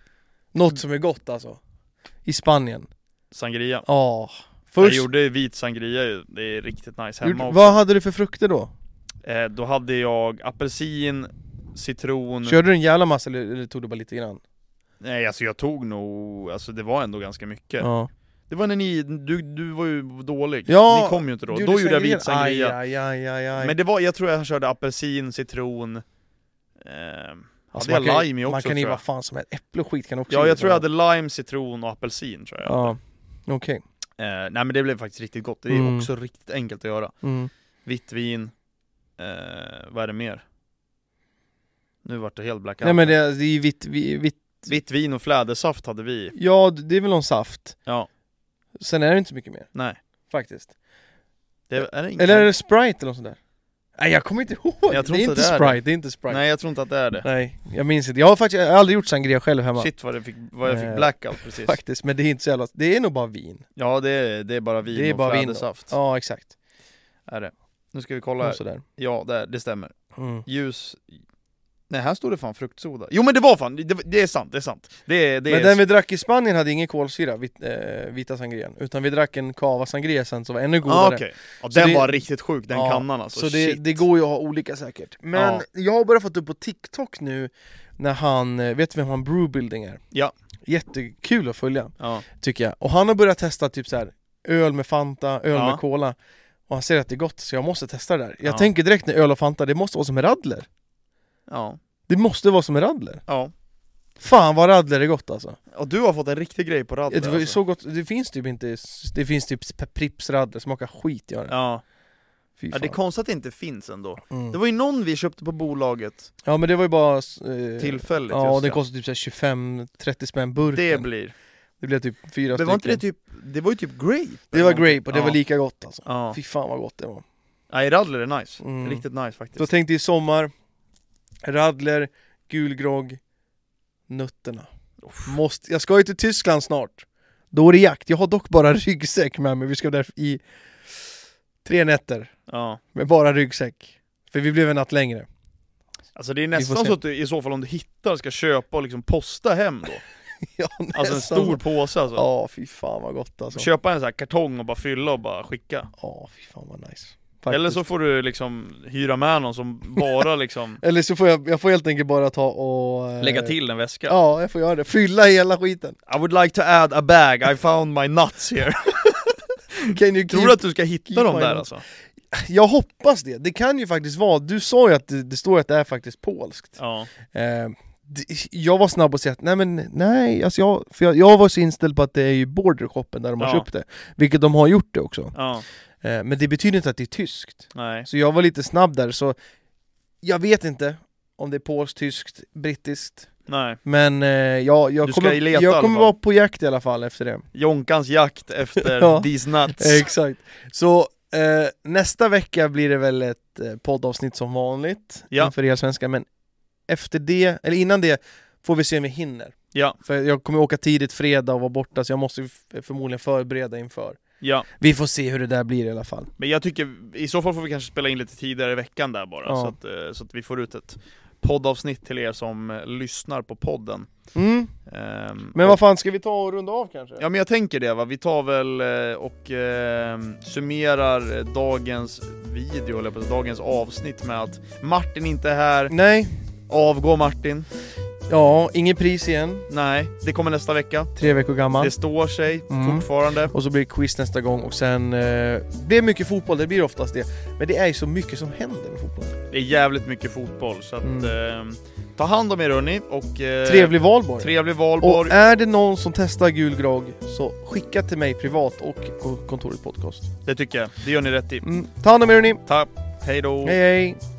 Speaker 1: Något som är gott alltså. I Spanien.
Speaker 3: Sangria.
Speaker 1: Ja.
Speaker 3: Jag
Speaker 1: Först,
Speaker 3: gjorde vit sangria ju. Det är riktigt nice hemma
Speaker 1: gjorde-
Speaker 3: också.
Speaker 1: vad hade du för frukter då?
Speaker 3: Eh, Då hade jag apelsin, citron.
Speaker 1: Körde du en jävla massa eller, eller tog du bara lite grann?
Speaker 3: Nej, alltså jag tog nog, alltså det var ändå ganska mycket.
Speaker 1: Ja.
Speaker 3: Det var när ni, du, du var ju dålig.
Speaker 1: Ja,
Speaker 3: ni kom ju inte då.
Speaker 1: Du
Speaker 3: Då gjorde jag
Speaker 1: sangria?
Speaker 3: vit sangria.
Speaker 1: Aj, aj, aj, aj.
Speaker 3: Men det var, jag tror jag körde apelsin, citron, ehm,
Speaker 1: Alltså,
Speaker 3: hade
Speaker 1: man
Speaker 3: jag
Speaker 1: kan ju-
Speaker 3: lime i
Speaker 1: Man
Speaker 3: också,
Speaker 1: kan ju
Speaker 3: tror jag.
Speaker 1: vad fan som helst, äpple och skit kan också
Speaker 3: ja
Speaker 1: i,
Speaker 3: jag tror jag hade lime, citron och apelsin tror jag.
Speaker 1: Ja, okej.
Speaker 3: Eh, nej men det blev faktiskt riktigt gott, det är
Speaker 1: Mm.
Speaker 3: också riktigt enkelt att göra.
Speaker 1: Mm.
Speaker 3: Vitt vin, eh, vad är det mer? Nu vart det helt blackout.
Speaker 1: Nej men det, det är ju vitt, vi- vitt,
Speaker 3: Vitt vin och flädersaft hade vi.
Speaker 1: ja det är väl någon saft.
Speaker 3: Ja.
Speaker 1: Sen är det inte så mycket mer.
Speaker 3: Nej.
Speaker 1: Faktiskt.
Speaker 3: Det, är det
Speaker 1: Eller är det Sprite eller något sånt där? Nej jag kommer inte ihåg!
Speaker 3: Jag tror
Speaker 1: det är
Speaker 3: inte
Speaker 1: inte
Speaker 3: det är
Speaker 1: Sprite, det är inte Sprite. Nej.
Speaker 3: Nej jag tror inte att det är det.
Speaker 1: jag minns inte. Jag har faktiskt jag har aldrig gjort sangria själv hemma.
Speaker 3: Shit vad, det fick, vad jag
Speaker 1: Eh,
Speaker 3: fick blackout precis.
Speaker 1: Faktiskt, men det är inte så jävla... Det är nog bara vin.
Speaker 3: Ja det är, det är bara vin
Speaker 1: Det är
Speaker 3: och
Speaker 1: bara vin och-
Speaker 3: flädersaft.
Speaker 1: Ja, Alltså- exakt.
Speaker 3: Är det. Nu ska vi kolla
Speaker 1: Och
Speaker 3: här.
Speaker 1: sådär.
Speaker 3: Ja det, är- det stämmer.
Speaker 1: Mm.
Speaker 3: Ljus... Nej, här står det fan fruktsoda. Jo men det var fan, det, det är sant, det är sant. Det, är- det
Speaker 1: Men
Speaker 3: är...
Speaker 1: den vi drack i Spanien hade ingen kolsyra, vit, eh, vita sangrian. Utan vi drack en cava sangria sen som var ännu godare.
Speaker 3: ah, okej. ja,
Speaker 1: Så
Speaker 3: den
Speaker 1: det-
Speaker 3: var riktigt sjuk, den
Speaker 1: Ja,
Speaker 3: kannan alltså.
Speaker 1: Så det,
Speaker 3: Shit.
Speaker 1: det går ju att ha olika säkert. Men
Speaker 3: Ja.
Speaker 1: jag har bara fått upp på TikTok nu när han, eh, vet du vem han Brewbuilding är?
Speaker 3: Ja.
Speaker 1: Jättekul att följa,
Speaker 3: Ja.
Speaker 1: tycker jag. Och han har börjat testa typ så här öl med Fanta, öl
Speaker 3: Ja.
Speaker 1: med Cola. Och han säger att det är gott, så jag måste testa det där. Jag
Speaker 3: Ja.
Speaker 1: tänker direkt när öl och Fanta, det måste vara som Radler.
Speaker 3: ja,
Speaker 1: Det måste vara som Radler.
Speaker 3: ja.
Speaker 1: Fan vad Radler är gott alltså.
Speaker 3: Och du har fått en riktig grej på alltså.
Speaker 1: Det,
Speaker 3: ratten
Speaker 1: var ju så gott, det finns typ inte, det finns typ Pripps Radler, smakar skit gör det.
Speaker 3: Ja.
Speaker 1: Fy
Speaker 3: ja, det är
Speaker 1: fan.
Speaker 3: konstigt att det inte finns ändå.
Speaker 1: Mm.
Speaker 3: Det var ju någon vi köpte på bolaget,
Speaker 1: Ja men det var ju bara... Eh,
Speaker 3: tillfälligt
Speaker 1: Ja,
Speaker 3: just
Speaker 1: och den
Speaker 3: det.
Speaker 1: kostade typ 25-30 spänn burken.
Speaker 3: det blir.
Speaker 1: Det blev typ fyra
Speaker 3: Men var inte
Speaker 1: stycken.
Speaker 3: det typ, det var ju typ grape?
Speaker 1: det var
Speaker 3: eller någonting.
Speaker 1: grape och det
Speaker 3: ja.
Speaker 1: var lika gott alltså.
Speaker 3: Ja.
Speaker 1: Fy fan vad gott det var.
Speaker 3: Nej, Radler är nice.
Speaker 1: Mm.
Speaker 3: Riktigt nice
Speaker 1: Så jag
Speaker 3: faktiskt.
Speaker 1: tänkte i sommar, radler, gulgrogg, nötterna. Måste, jag ska ju till Tyskland snart. Då är det jakt. Jag har dock bara ryggsäck med mig. Vi ska där i tre nätter
Speaker 3: Ja.
Speaker 1: med bara ryggsäck. För vi blev en natt längre.
Speaker 3: Alltså det är
Speaker 1: får
Speaker 3: nästan
Speaker 1: se.
Speaker 3: så att du i så fall om du hittar ska köpa och liksom posta hem då.
Speaker 1: Ja,
Speaker 3: Alltså en
Speaker 1: nästan.
Speaker 3: stor påse alltså.
Speaker 1: Ja, fy fan vad gott alltså.
Speaker 3: Köpa en sån här kartong och bara fylla och bara skicka.
Speaker 1: Ja, fy fan vad nice. Faktiskt.
Speaker 3: Eller så får du liksom hyra med någon som bara liksom
Speaker 1: Eller så får jag, jag får helt enkelt bara ta och... eh,
Speaker 3: lägga till en väska.
Speaker 1: Ja, jag får göra det. Fylla hela skiten.
Speaker 3: I would like to add a bag, I found my nuts here.
Speaker 1: Can you
Speaker 3: Tror
Speaker 1: keep-
Speaker 3: du att du ska hitta
Speaker 1: keep
Speaker 3: dem
Speaker 1: my
Speaker 3: där
Speaker 1: nuts.
Speaker 3: alltså?
Speaker 1: Jag hoppas det. Det kan ju faktiskt vara, du sa ju att det, det står att det är faktiskt polskt.
Speaker 3: Ja.
Speaker 1: Eh, det- jag var snabb och säga att nej men nej, alltså jag, för jag, jag var så inställd på att det är ju bordershoppen där de har
Speaker 3: Ja.
Speaker 1: köpt det. Vilket de har gjort det också.
Speaker 3: Ja.
Speaker 1: Eh, men det betyder inte att det är tyskt.
Speaker 3: Nej.
Speaker 1: Så jag var lite snabb där så jag vet inte om det är polskt, tyskt, brittiskt.
Speaker 3: Nej.
Speaker 1: Men eh, jag,
Speaker 3: Du
Speaker 1: jag
Speaker 3: ska
Speaker 1: kommer,
Speaker 3: leta i alla
Speaker 1: jag kommer
Speaker 3: fall.
Speaker 1: vara på jakt i alla fall efter det.
Speaker 3: Jonkans jakt efter
Speaker 1: Ja.
Speaker 3: these nuts.
Speaker 1: Exakt. Så eh, nästa vecka blir det väl ett eh, poddavsnitt som vanligt
Speaker 3: Ja.
Speaker 1: inför er svenska men efter det, eller innan det, får vi se om vi hinner.
Speaker 3: Ja.
Speaker 1: För jag kommer åka tidigt fredag och vara borta så jag måste ju f- förmodligen förbereda inför.
Speaker 3: Ja.
Speaker 1: Vi får se hur det där blir i alla fall.
Speaker 3: Men jag tycker, i så fall får vi kanske spela in lite tidigare i veckan där bara.
Speaker 1: Ja.
Speaker 3: Så, att, eh, så att vi får ut ett poddavsnitt till er som eh, lyssnar på podden.
Speaker 1: Mm.
Speaker 3: Ehm,
Speaker 1: Men
Speaker 3: och-
Speaker 1: vad fan, ska vi ta och runda av kanske?
Speaker 3: Ja men jag tänker det va, vi tar väl eh, och eh, summerar eh, dagens video, eller på dagens avsnitt med att Martin inte är här,
Speaker 1: Nej,
Speaker 3: avgå Martin,
Speaker 1: ja, ingen pris igen,
Speaker 3: nej, det kommer nästa vecka,
Speaker 1: tre veckor gammal.
Speaker 3: det står sig
Speaker 1: Mm.
Speaker 3: fortfarande.
Speaker 1: Och så blir det quiz nästa gång och sen... Eh, det är mycket fotboll, det blir oftast det. Men det är ju så mycket som händer med fotboll.
Speaker 3: Det är jävligt mycket fotboll så att
Speaker 1: Mm.
Speaker 3: eh, ta hand om er hörni och eh,
Speaker 1: Trevlig valborg!
Speaker 3: trevlig valborg.
Speaker 1: Och är det någon som testar gul grogg så skicka till mig privat och på kontoret podcast.
Speaker 3: Det tycker jag, det gör ni rätt i.
Speaker 1: Mm. Ta hand om er hörni,
Speaker 3: Tack, hej då.
Speaker 1: hej hej!